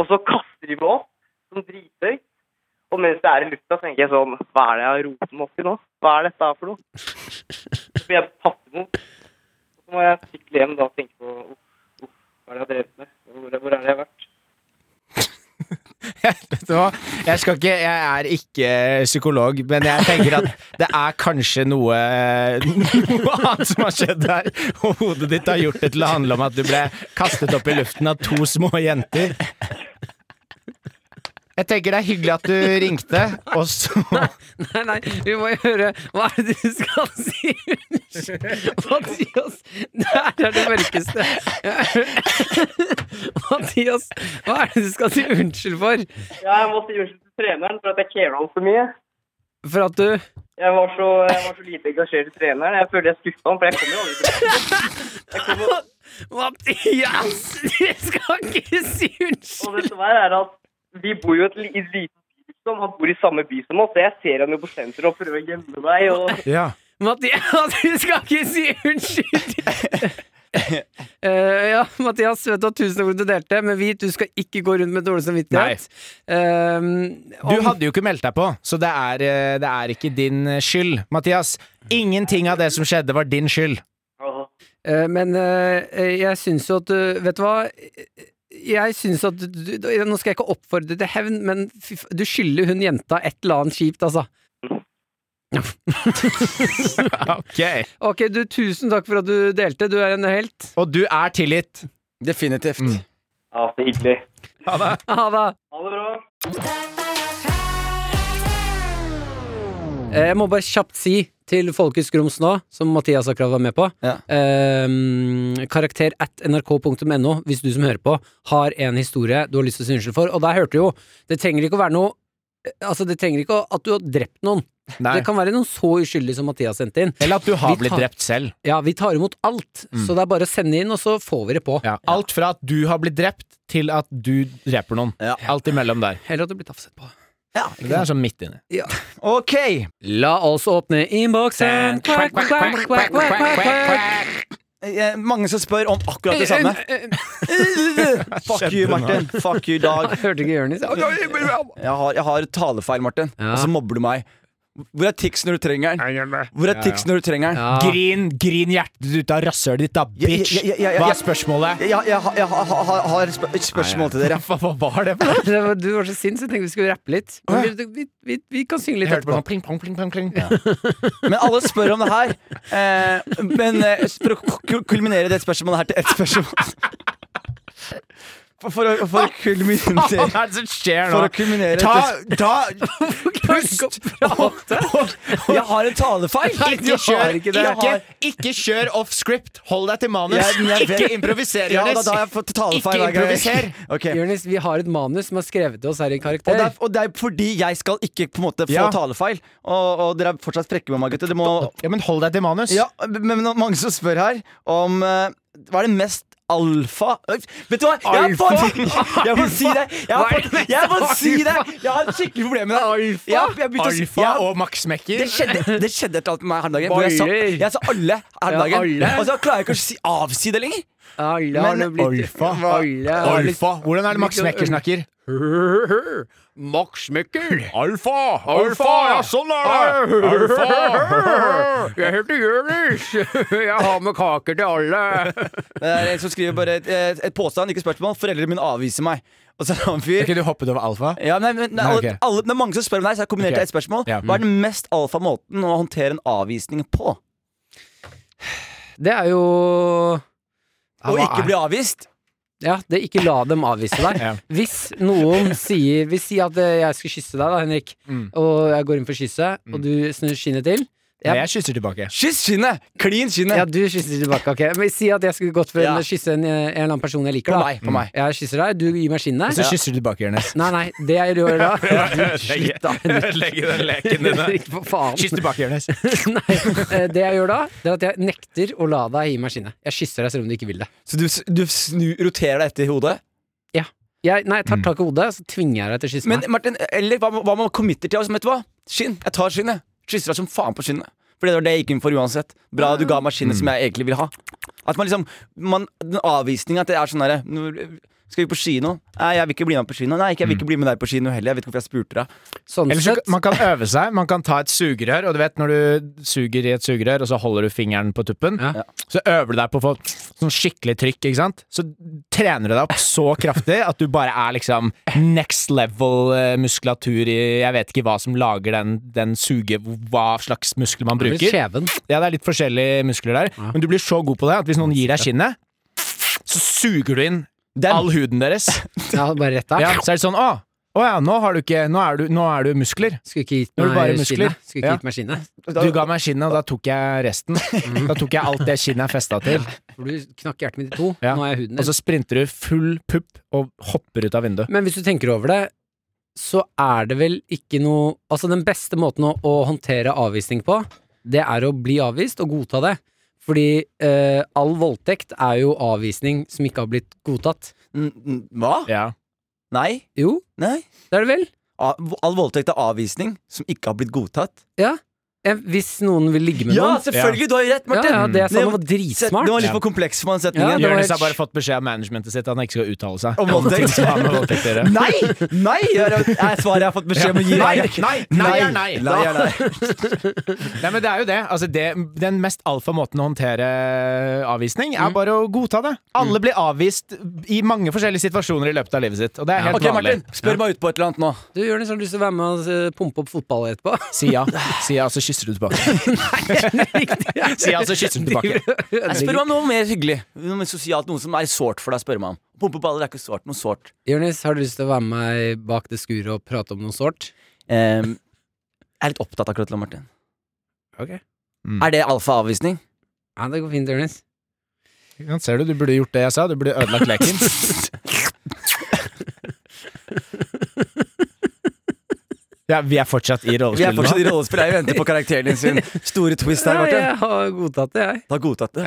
Speaker 6: og så kaster de meg opp som drithøyt. Og mens jeg er i lufta, så tenker jeg sånn Hva er det jeg har rotet meg opp i nå? Hva er dette her for noe? Så blir jeg tatt imot. Og så må jeg sykle hjem da og tenke på uff, uff, hva er det jeg har drevet med? Hvor, hvor er det jeg har vært?
Speaker 5: Vet du hva? Jeg, skal ikke, jeg er ikke psykolog, men jeg tenker at det er kanskje noe, noe annet som har skjedd her. Og hodet ditt har gjort det til å handle om at du ble kastet opp i luften av to små jenter. Jeg tenker det er hyggelig at du ringte, og så
Speaker 3: Nei, nei, vi må jo høre Hva er det du skal si? Mathias, det her er det mørkeste. Mathias, hva er det du skal si unnskyld for?
Speaker 6: Ja, jeg måtte si unnskyld til treneren for at jeg kjela han for mye.
Speaker 3: For at du
Speaker 6: Jeg var, så, jeg var så lite engasjert i treneren. Jeg føler jeg skuffa han, for jeg kommer jo aldri til
Speaker 3: Mathias, du skal ikke si unnskyld!
Speaker 6: Og det som er, er at vi bor jo i et li- i et lite by, som han bor i samme by som oss. Så jeg ser han jo på senteret og prøver å gjemme meg. Og
Speaker 5: Ja.
Speaker 3: Mathias, du skal ikke si unnskyld! Eh, ja, Mathias, vet du, hva, tusen takk for at du delte, men vit du skal ikke gå rundt med dårlig samvittighet. Eh,
Speaker 5: Du
Speaker 3: om-
Speaker 5: hadde jo ikke meldt deg på, så det er, eh, det er ikke din eh, skyld. Mathias, ingenting av det som skjedde, var din skyld.
Speaker 3: Eh, Men eh, jeg syns jo at eh, Vet du hva? Jeg syns at du, du- Nå skal jeg ikke oppfordre til hevn, men fy f- du skylder hun jenta et eller annet kjipt, altså.
Speaker 5: Ok.
Speaker 3: Ok, du, tusen takk for at du delte. Du er en helt.
Speaker 5: Og du er tilgitt.
Speaker 4: Definitivt.
Speaker 5: Mm.
Speaker 6: Ja, så hyggelig.
Speaker 3: Ha det.
Speaker 6: Ha det bra.
Speaker 3: Eh, Jeg må bare kjapt si til Folkets Grums nå, som Mathias har krav var med på
Speaker 4: Ja.
Speaker 3: ehm, Karakter at nrk.no, hvis du som hører på, har en historie du har lyst til å si unnskyld for. Og der hørte du jo Det trenger ikke å være noe Altså, det trenger ikke å- at du har drept noen.
Speaker 5: Nei.
Speaker 3: Det kan være noen så uskyldig som Mathias sendte inn.
Speaker 5: Eller at du har
Speaker 3: Vi
Speaker 5: blitt
Speaker 3: tar-
Speaker 5: drept selv.
Speaker 3: Ja, vi tar imot alt, så det er bare å sende inn, og så får vi det på.
Speaker 5: Ja. Alt fra at du har blitt drept, til at du dreper noen.
Speaker 4: Ja.
Speaker 5: Alt imellom der.
Speaker 3: Eller at det blir tafset på.
Speaker 5: Det er sånn midt inni.
Speaker 4: Ok!
Speaker 3: La oss åpne innboksen! Quack, quack, quack, quack, quack, quack, quack.
Speaker 4: Eh, Mange som spør om akkurat det samme.
Speaker 3: Eh,
Speaker 4: Fuck you, Martin. Fuck you, Dag.
Speaker 3: Jeg eh, hørte ikke Jonis.
Speaker 4: Jeg har, jeg har talefeil, Martin.
Speaker 3: Ja.
Speaker 4: Og så mobber du meg. Hvor er Tix når du trenger den? Hvor er Tix når du trenger den?
Speaker 3: Ja.
Speaker 5: Grin, grin hjertet ditt ut av rasshølet ditt, da, bitch!
Speaker 4: Ja, ja, ja, ja, ja.
Speaker 5: Hva er spørsmålet?
Speaker 4: Jeg, jeg, har- jeg har- har- har et spør- et spørsmål til dere.
Speaker 5: Hva, hva var det for noe?
Speaker 3: Det var, du var så sint, så jeg tenkte vi skulle rappe litt. Men vi, vi, vi, vi kan synge litt
Speaker 5: Jeg hørte
Speaker 3: etterpå.
Speaker 5: bare sånn pling, plong, pling, plong, pling.
Speaker 4: Men alle spør om det her. Eh, men eh, for å ku- kulminere det spørsmålet her til ett spørsmål For, for, å, for å
Speaker 5: Hva
Speaker 4: kulminere
Speaker 5: er det som skjer nå?
Speaker 4: For å kulminere
Speaker 5: Ta,
Speaker 4: dette-
Speaker 5: ta
Speaker 3: Pust!
Speaker 4: Jeg har en talefeil!
Speaker 5: Ikke kjør,
Speaker 4: Jeg
Speaker 5: ikke,
Speaker 4: har-
Speaker 5: ikke, kjør off script! Hold deg til manus!
Speaker 4: Jeg- jeg
Speaker 5: ikke
Speaker 4: vet-
Speaker 5: improviser,
Speaker 4: Ja, da,
Speaker 5: Jonis!
Speaker 4: da har jeg fått talefeil.
Speaker 5: Ikke
Speaker 4: hver gang.
Speaker 5: improviser.
Speaker 4: Ok.
Speaker 3: Jonis, vi har et manus som er skrevet til oss her i
Speaker 4: sånn- Og det,
Speaker 3: Karakter.
Speaker 4: er, og det er fordi jeg skal ikke på en måte få
Speaker 5: Ja.
Speaker 4: talefeil. Og, og dere er fortsatt frekke med meg, gutter. Det må
Speaker 5: Ja, men hold deg til manus.
Speaker 4: Ja, men men mange som spør her om eh, Hva er det mest Alfa Vet du hva? Jeg
Speaker 3: Alfa.
Speaker 4: får, jeg får si det! Jeg
Speaker 3: Hva er det
Speaker 4: får,
Speaker 3: med
Speaker 4: jeg får si det!
Speaker 3: alfa?
Speaker 4: Jeg har et skikkelig problem med det.
Speaker 3: Alfa?
Speaker 4: Ja, jeg begynte å si-
Speaker 5: Alfa
Speaker 4: ja.
Speaker 5: og Max Mekker.
Speaker 4: Det skjedde, det skjedde et eller annet med meg her om dagen. Hvor jeg, sa,
Speaker 3: Boiler.
Speaker 4: jeg sa alle her om
Speaker 3: Ja,
Speaker 4: dagen.
Speaker 3: alle.
Speaker 4: Og så klarer jeg ikke å si, avsi det lenger.
Speaker 3: Alle har nå
Speaker 4: Men
Speaker 3: blitt
Speaker 5: Alfa.
Speaker 3: Alle har blitt-
Speaker 5: Alfa. Hvordan er det Max Mekker snakker?
Speaker 3: Max Mekker.
Speaker 5: Alfa! sånn
Speaker 3: Jeg heter Jonis. Jeg har med kaker til alle.
Speaker 4: Det er en som skriver bare et, et, et påstand, ikke spørsmål. Foreldrene mine avviser meg. Og så er det en
Speaker 5: Har
Speaker 4: fyr
Speaker 5: ikke du hoppet over alfa?
Speaker 4: ja, nei, men, nei,
Speaker 5: Nei,
Speaker 4: alle,
Speaker 5: ok.
Speaker 4: alle, Det er mange som spør om deg, så jeg kombinerte
Speaker 5: Ok.
Speaker 4: et spørsmål.
Speaker 5: Ja.
Speaker 4: Hva er den mest alfa måten å håndtere en avvisning på?
Speaker 3: Det er jo
Speaker 5: Ja,
Speaker 4: Å
Speaker 5: hva
Speaker 4: ikke
Speaker 5: er-
Speaker 4: bli avvist?
Speaker 3: Ja, det ikke la dem avvise deg.
Speaker 5: Ja.
Speaker 3: Hvis noen sier Hvis si at eh, jeg skal kysse deg, da, Henrik,
Speaker 5: Mm.
Speaker 3: og jeg går inn for kysset, og du snur skinnet til
Speaker 5: Ja,
Speaker 3: Ja.
Speaker 5: jeg kysser tilbake.
Speaker 4: Kyss skinnet! Klin
Speaker 3: Ja,
Speaker 4: skinnet!
Speaker 3: du kysser tilbake, ok. Men si at jeg skulle gått for
Speaker 4: Ja.
Speaker 3: å kysse en, en eller annen person jeg liker,
Speaker 4: På
Speaker 3: da.
Speaker 4: meg. på meg
Speaker 3: Jeg kysser deg, du gir meg
Speaker 5: Og
Speaker 3: skinnet.
Speaker 5: så kysser du tilbake, Jonis.
Speaker 3: Nei, nei, det jeg gjør da
Speaker 5: Ødelegge ødelegge den leken din. da.
Speaker 3: Henrik, for faen.
Speaker 5: Kyss tilbake, Jonis.
Speaker 3: Nei, eh, det jeg gjør da, det er at jeg nekter å la deg gi meg skinnet. Jeg kysser deg selv om du ikke vil det.
Speaker 4: Så du, s- du snu, roterer deg etter hodet?
Speaker 3: Jeg, nei,
Speaker 5: Mm.
Speaker 3: jeg tar tak i hodet, så tvinger jeg deg til å kysse
Speaker 4: Men
Speaker 3: meg.
Speaker 4: Martin, eller hva, hva man committer til? Altså, vet du hva? Skinn. Jeg tar skinnet. Kysser deg som faen på skinnet. For det var det jeg gikk inn for uansett. Bra du ga meg skinnet
Speaker 5: Mm.
Speaker 4: som jeg egentlig vil ha. At man liksom man, Den avvisninga at det er sånn derre "Nå- Skal vi på kino? Nei, jeg vil ikke bli med på kino. Nei, ikke, jeg vil
Speaker 5: Mm.
Speaker 4: ikke bli med deg på kino heller. Jeg vet ikke hvorfor jeg spurte deg.
Speaker 3: Sånn
Speaker 5: Eller så,
Speaker 3: sett.
Speaker 5: man kan øve seg. Man kan ta et sugerør, og du vet når du suger i et sugerør, og så holder du fingeren på tuppen,
Speaker 3: Ja.
Speaker 5: så øver du deg på å få sånn skikkelig trykk, ikke sant? Så trener du deg opp så kraftig at du bare er liksom next level eh, muskulatur i Jeg vet ikke hva som lager den, den suge... Hva slags muskler man
Speaker 3: blir
Speaker 5: bruker.
Speaker 3: skjeven.
Speaker 5: Ja, det er litt forskjellige muskler der, men du blir så god på det at hvis noen gir deg skinnet, så suger du inn
Speaker 4: Den-
Speaker 5: all huden deres.
Speaker 3: Ja, bare rett der.
Speaker 5: Ja, så er det sånn Å, å ja, nå, har du ikke, nå, er du, nå er du muskler.
Speaker 3: Skulle ikke gitt
Speaker 5: Nå er det bare
Speaker 3: meg
Speaker 5: muskler.
Speaker 3: skinnet. Skulle ikke
Speaker 5: Ja.
Speaker 3: gitt meg skinnet.
Speaker 5: Du ga meg skinnet, og da tok jeg resten. Da tok jeg alt det skinnet jeg festa til.
Speaker 3: For du knakk hjertet mitt i to.
Speaker 5: Ja.
Speaker 3: Nå er jeg huden
Speaker 5: Og
Speaker 3: din.
Speaker 5: så sprinter du full pupp og hopper ut av vinduet.
Speaker 3: Men hvis du tenker over det, så er det vel ikke noe Altså, den beste måten å, å håndtere avvisning på, det er å bli avvist og godta det. Fordi eh, all voldtekt er jo avvisning som ikke har blitt godtatt.
Speaker 4: N- n- Hva?
Speaker 5: Ja.
Speaker 4: Nei?
Speaker 3: Jo,
Speaker 4: Nei?
Speaker 3: det er det vel?
Speaker 4: A- All voldtekt er avvisning som ikke har blitt godtatt.
Speaker 3: Ja. Eh, Hvis noen vil ligge med
Speaker 4: Ja,
Speaker 3: noen.
Speaker 4: selvfølgelig! Du har jo rett,
Speaker 3: Ja,
Speaker 4: Martin!
Speaker 3: ja, det jeg sa
Speaker 4: Det
Speaker 3: nå var
Speaker 4: Se- Det
Speaker 3: dritsmart.
Speaker 4: var litt
Speaker 5: Ja.
Speaker 4: for kompleks for den
Speaker 3: Ja, det
Speaker 4: setningen.
Speaker 3: var
Speaker 5: Jonis har
Speaker 3: helt-
Speaker 5: bare fått beskjed av managementet sitt at han ikke skal uttale seg.
Speaker 4: Om voldtekt.
Speaker 5: Hva med voldtekt å gjøre.
Speaker 4: Nei! Nei! Er er svaret jeg har fått beskjed om å gi?
Speaker 5: Nei, nei, nei er nei.
Speaker 4: nei, er nei.
Speaker 5: Nei, men det er jo det. Altså, det den mest alfa måten å håndtere eh, avvisning
Speaker 4: Mm.
Speaker 5: er bare å godta det. Alle blir avvist i mange forskjellige situasjoner i løpet av livet sitt, og det er helt
Speaker 4: Ok,
Speaker 5: vanlig.
Speaker 4: Martin, spør meg ut på et eller annet nå.
Speaker 3: Du, Jonis, har du lyst til å være med og eh, pumpe opp fotball etterpå?
Speaker 5: Si ja, si ja, så kysser du tilbake. Si ja, så kysser du tilbake.
Speaker 4: Jeg spør meg om noe mer hyggelig. Noe mer sosialt, noe som er sårt for deg. spør meg om Pumpe baller er ikke sårt. Noe sårt.
Speaker 3: Jonis, har du lyst til å være med meg bak det skuret og prate om noe sårt?
Speaker 4: Ehm, jeg er litt opptatt akkurat nå, Martin.
Speaker 3: Ok.
Speaker 4: Mm. Er det alfa-avvisning?
Speaker 3: Ja, det går fint, Jonis.
Speaker 5: Ja, Ser du, du burde gjort det jeg sa. Du burde ødelagt leken. ja, vi er fortsatt i
Speaker 4: Vi er
Speaker 5: rollespillet
Speaker 4: fortsatt
Speaker 5: nå.
Speaker 4: i rollespill. Jeg venter på karakteren din sin store twist her,
Speaker 3: Ja,
Speaker 4: Martin.
Speaker 3: jeg har godtatt det, jeg.
Speaker 4: Du har godtatt det.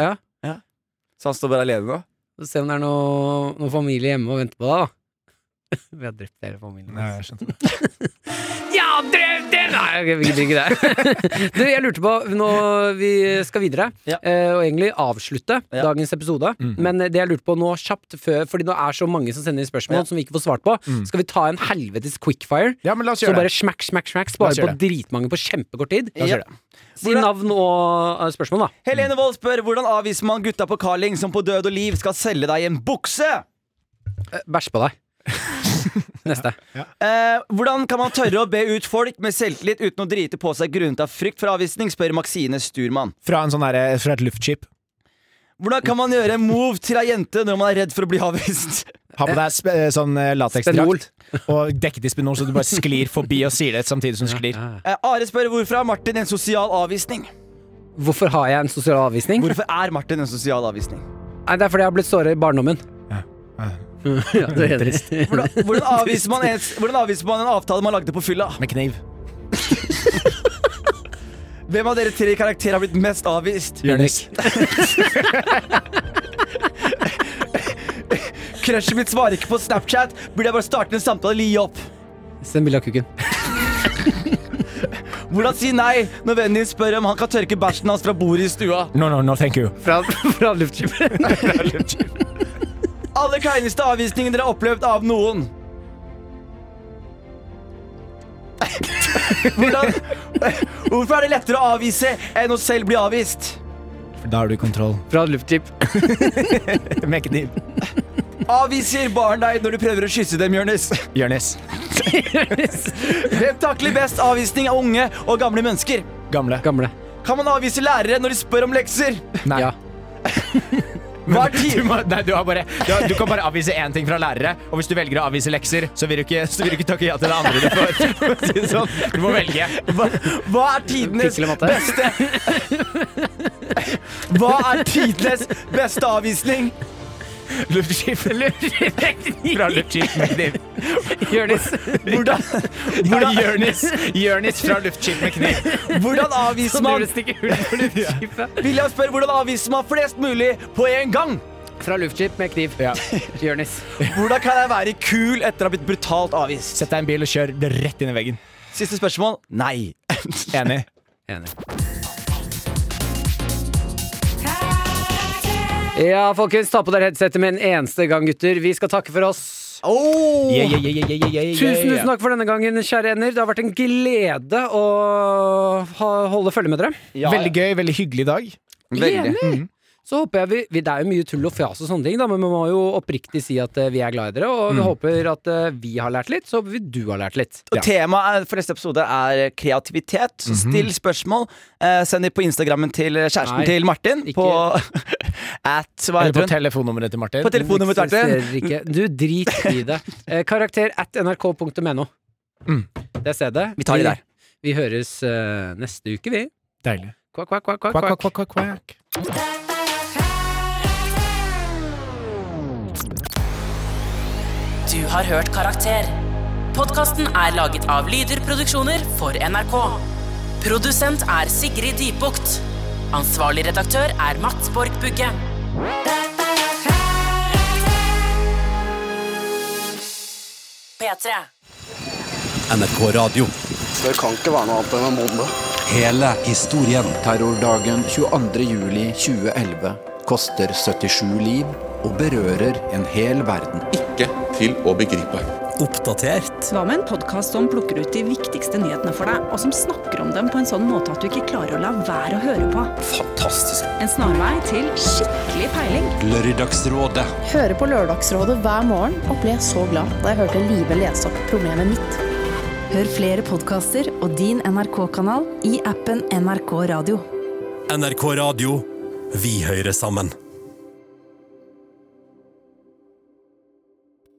Speaker 3: Ja.
Speaker 4: Så han står bare alene nå?
Speaker 3: Så se om det er noe, noe familie hjemme og venter på deg, da. Vi har drept hele familien.
Speaker 5: Nei,
Speaker 3: altså.
Speaker 5: jeg skjønte.
Speaker 3: Ja, drev det! Nei, ok, vi gidder ikke det. Du, jeg lurte på Nå vi skal videre,
Speaker 4: Ja.
Speaker 3: eh, og egentlig avslutte
Speaker 4: Ja.
Speaker 3: dagens episode. Men det jeg lurte på nå kjapt, før, fordi det er så mange som sender inn spørsmål
Speaker 4: Ja.
Speaker 3: som vi ikke får svart på, skal vi ta en helvetes quickfire?
Speaker 5: Ja, men la oss
Speaker 3: Så
Speaker 5: gjøre
Speaker 3: bare
Speaker 5: det.
Speaker 3: smack, smack, smack.
Speaker 5: La
Speaker 3: Spare
Speaker 5: oss gjøre
Speaker 3: på dritmange på kjempekort tid.
Speaker 4: La oss gjøre
Speaker 3: Si navn og eh, spørsmål, da.
Speaker 4: Helene Wold spør hvordan avviser man gutta på Carling som på død og liv skal selge deg en bukse?
Speaker 3: Bæsj på deg. Neste.
Speaker 4: Eh, hvordan kan man tørre å be ut folk med selvtillit uten å drite på seg grunnet av frykt for avvisning, spør Maxine Sturman.
Speaker 5: Fra, en sånn derre- fra et luftskip.
Speaker 4: Hvordan kan man gjøre en move til ei jente når man er redd for å bli avvist?
Speaker 5: Ha på deg sp sånn eh,
Speaker 3: Spenol.
Speaker 5: lateksdrakt og dekket i spenol, så du bare sklir forbi og sier det samtidig som du sklir.
Speaker 4: Eh, Are spør hvorfor er Martin en sosial avvisning.
Speaker 3: Hvorfor har jeg en sosial avvisning?
Speaker 4: Hvorfor er Martin en sosial avvisning?
Speaker 3: Nei, Det er fordi jeg har blitt såret i barndommen. Ja, det er enig.
Speaker 4: Hvordan, hvordan, avviser man en, hvordan avviser man en avtale man lagde på fylla?
Speaker 5: Med kniv.
Speaker 4: Hvem av dere tre karakterer har blitt mest avvist?
Speaker 5: Jonis.
Speaker 4: Crushet mitt svarer ikke på Snapchat. Burde jeg bare starte en samtale og gi opp?
Speaker 3: Send bilde av kukken.
Speaker 4: Hvordan si nei når vennen din spør om han kan tørke bæsjen hans fra bordet i stua?
Speaker 5: No, no, no, thank you.
Speaker 3: Fra, fra luftskipet.
Speaker 4: Aller kleineste avvisningen dere har opplevd av noen. Hvordan, hvorfor er det lettere å avvise enn å selv bli avvist?
Speaker 5: Da har du kontroll.
Speaker 3: Fra luftskip.
Speaker 5: Med kniv.
Speaker 4: Avviser barn deg når du prøver å kysse dem, Jonis?
Speaker 5: Jonis.
Speaker 4: Hvem takler best avvisning av unge og gamle mennesker?
Speaker 5: Gamle.
Speaker 3: Gamle.
Speaker 4: Kan man avvise lærere når de spør om lekser?
Speaker 5: Nei.
Speaker 3: Ja.
Speaker 4: Hva er
Speaker 5: Du,
Speaker 4: tid?
Speaker 5: må, nei, du, har bare, du, har, du kan bare avvise én ting fra lærere, og hvis du velger å avvise lekser, så vil du ikke, så vil du ikke takke ja til det andre du får. For å si det Sånn. Du må velge.
Speaker 4: Hva, hva er tidenes
Speaker 3: Fikk eller matte?
Speaker 4: beste Hva er tidenes beste avvisning?
Speaker 5: Luftskip. Fra luftskip med kniv.
Speaker 3: Jonis.
Speaker 4: Hvordan,
Speaker 5: Hvordan?
Speaker 4: hvordan,
Speaker 5: Jørnis. Jørnis fra luftskip med kniv.
Speaker 4: hvordan avviser man
Speaker 3: stikke hull på luftskipet.
Speaker 4: William spør hvordan avviser man flest mulig på en gang?
Speaker 3: Fra luftskip med kniv.
Speaker 5: Ja.
Speaker 3: Jonis.
Speaker 4: Hvordan kan jeg være kul etter å ha blitt brutalt avvist?
Speaker 5: Sett deg i en bil og kjør det rett inn i veggen.
Speaker 4: Siste spørsmål nei.
Speaker 5: Enig.
Speaker 3: Enig. Ja, folkens, ta på dere headsetet med en eneste gang, gutter. Vi skal takke for oss.
Speaker 4: Oh.
Speaker 5: Yeah, yeah, yeah, yeah, yeah, yeah, yeah.
Speaker 3: Tusen, tusen takk for denne gangen, kjære ender. Det har vært en glede å ha, holde følge med dere.
Speaker 5: Veldig gøy, veldig hyggelig dag.
Speaker 4: Veldig. Mm.
Speaker 3: Enig. Så håper jeg vi, vi, Det er jo mye tull og fjas og sånne ting, da, men vi må jo oppriktig si at eh, vi er glad i dere. Og vi håper at eh, vi har lært litt, så håper vi du har lært litt.
Speaker 4: Mm. Og Temaet for neste episode er kreativitet. Så
Speaker 5: Mhm.
Speaker 4: still spørsmål. Eh, send dem på Instagrammen til kjæresten
Speaker 3: Nei,
Speaker 4: til Martin.
Speaker 3: ikke.
Speaker 4: På at
Speaker 5: Eller på
Speaker 4: hva heter hun?
Speaker 5: telefonnummeret til Martin.
Speaker 4: På telefonnummeret til Martin.
Speaker 3: Eksisterer ikke. Du, drit i det. Eh, karakter at nrk.no.
Speaker 5: Mm.
Speaker 3: Det er stedet.
Speaker 4: Vi tar de der.
Speaker 3: Vi høres eh, neste uke, vi.
Speaker 5: Deilig.
Speaker 3: Kvakk, kvakk, kvakk.
Speaker 5: Quack,
Speaker 3: kvakk, kvakk.
Speaker 5: quack, quack, quack, quack.
Speaker 2: Du har hørt Karakter. Podkasten er laget av Lyder Produksjoner for NRK. Produsent er Sigrid Dybukt. Ansvarlig redaktør er Mats Borg Bugge. P3.
Speaker 7: NRK Radio.
Speaker 8: Det kan ikke være noe annet enn en bombe.
Speaker 7: Hele historien.
Speaker 9: Terrordagen 22. juli 2011 koster 77 liv og berører en hel verden.
Speaker 10: ikke til å begripe.
Speaker 7: Oppdatert
Speaker 11: Hva med en podkast som plukker ut de viktigste nyhetene for deg, og som snakker om dem på en sånn måte at du ikke klarer å la være å høre på?
Speaker 7: fantastisk.
Speaker 11: En snarvei til skikkelig peiling.
Speaker 7: Lørdagsrådet.
Speaker 12: Hører på Lørdagsrådet hver morgen og ble så glad da jeg hørte Live lese opp problemet mitt. Hør flere podkaster og din NRK-kanal i appen NRK Radio.
Speaker 7: NRK Radio. Vi hører sammen.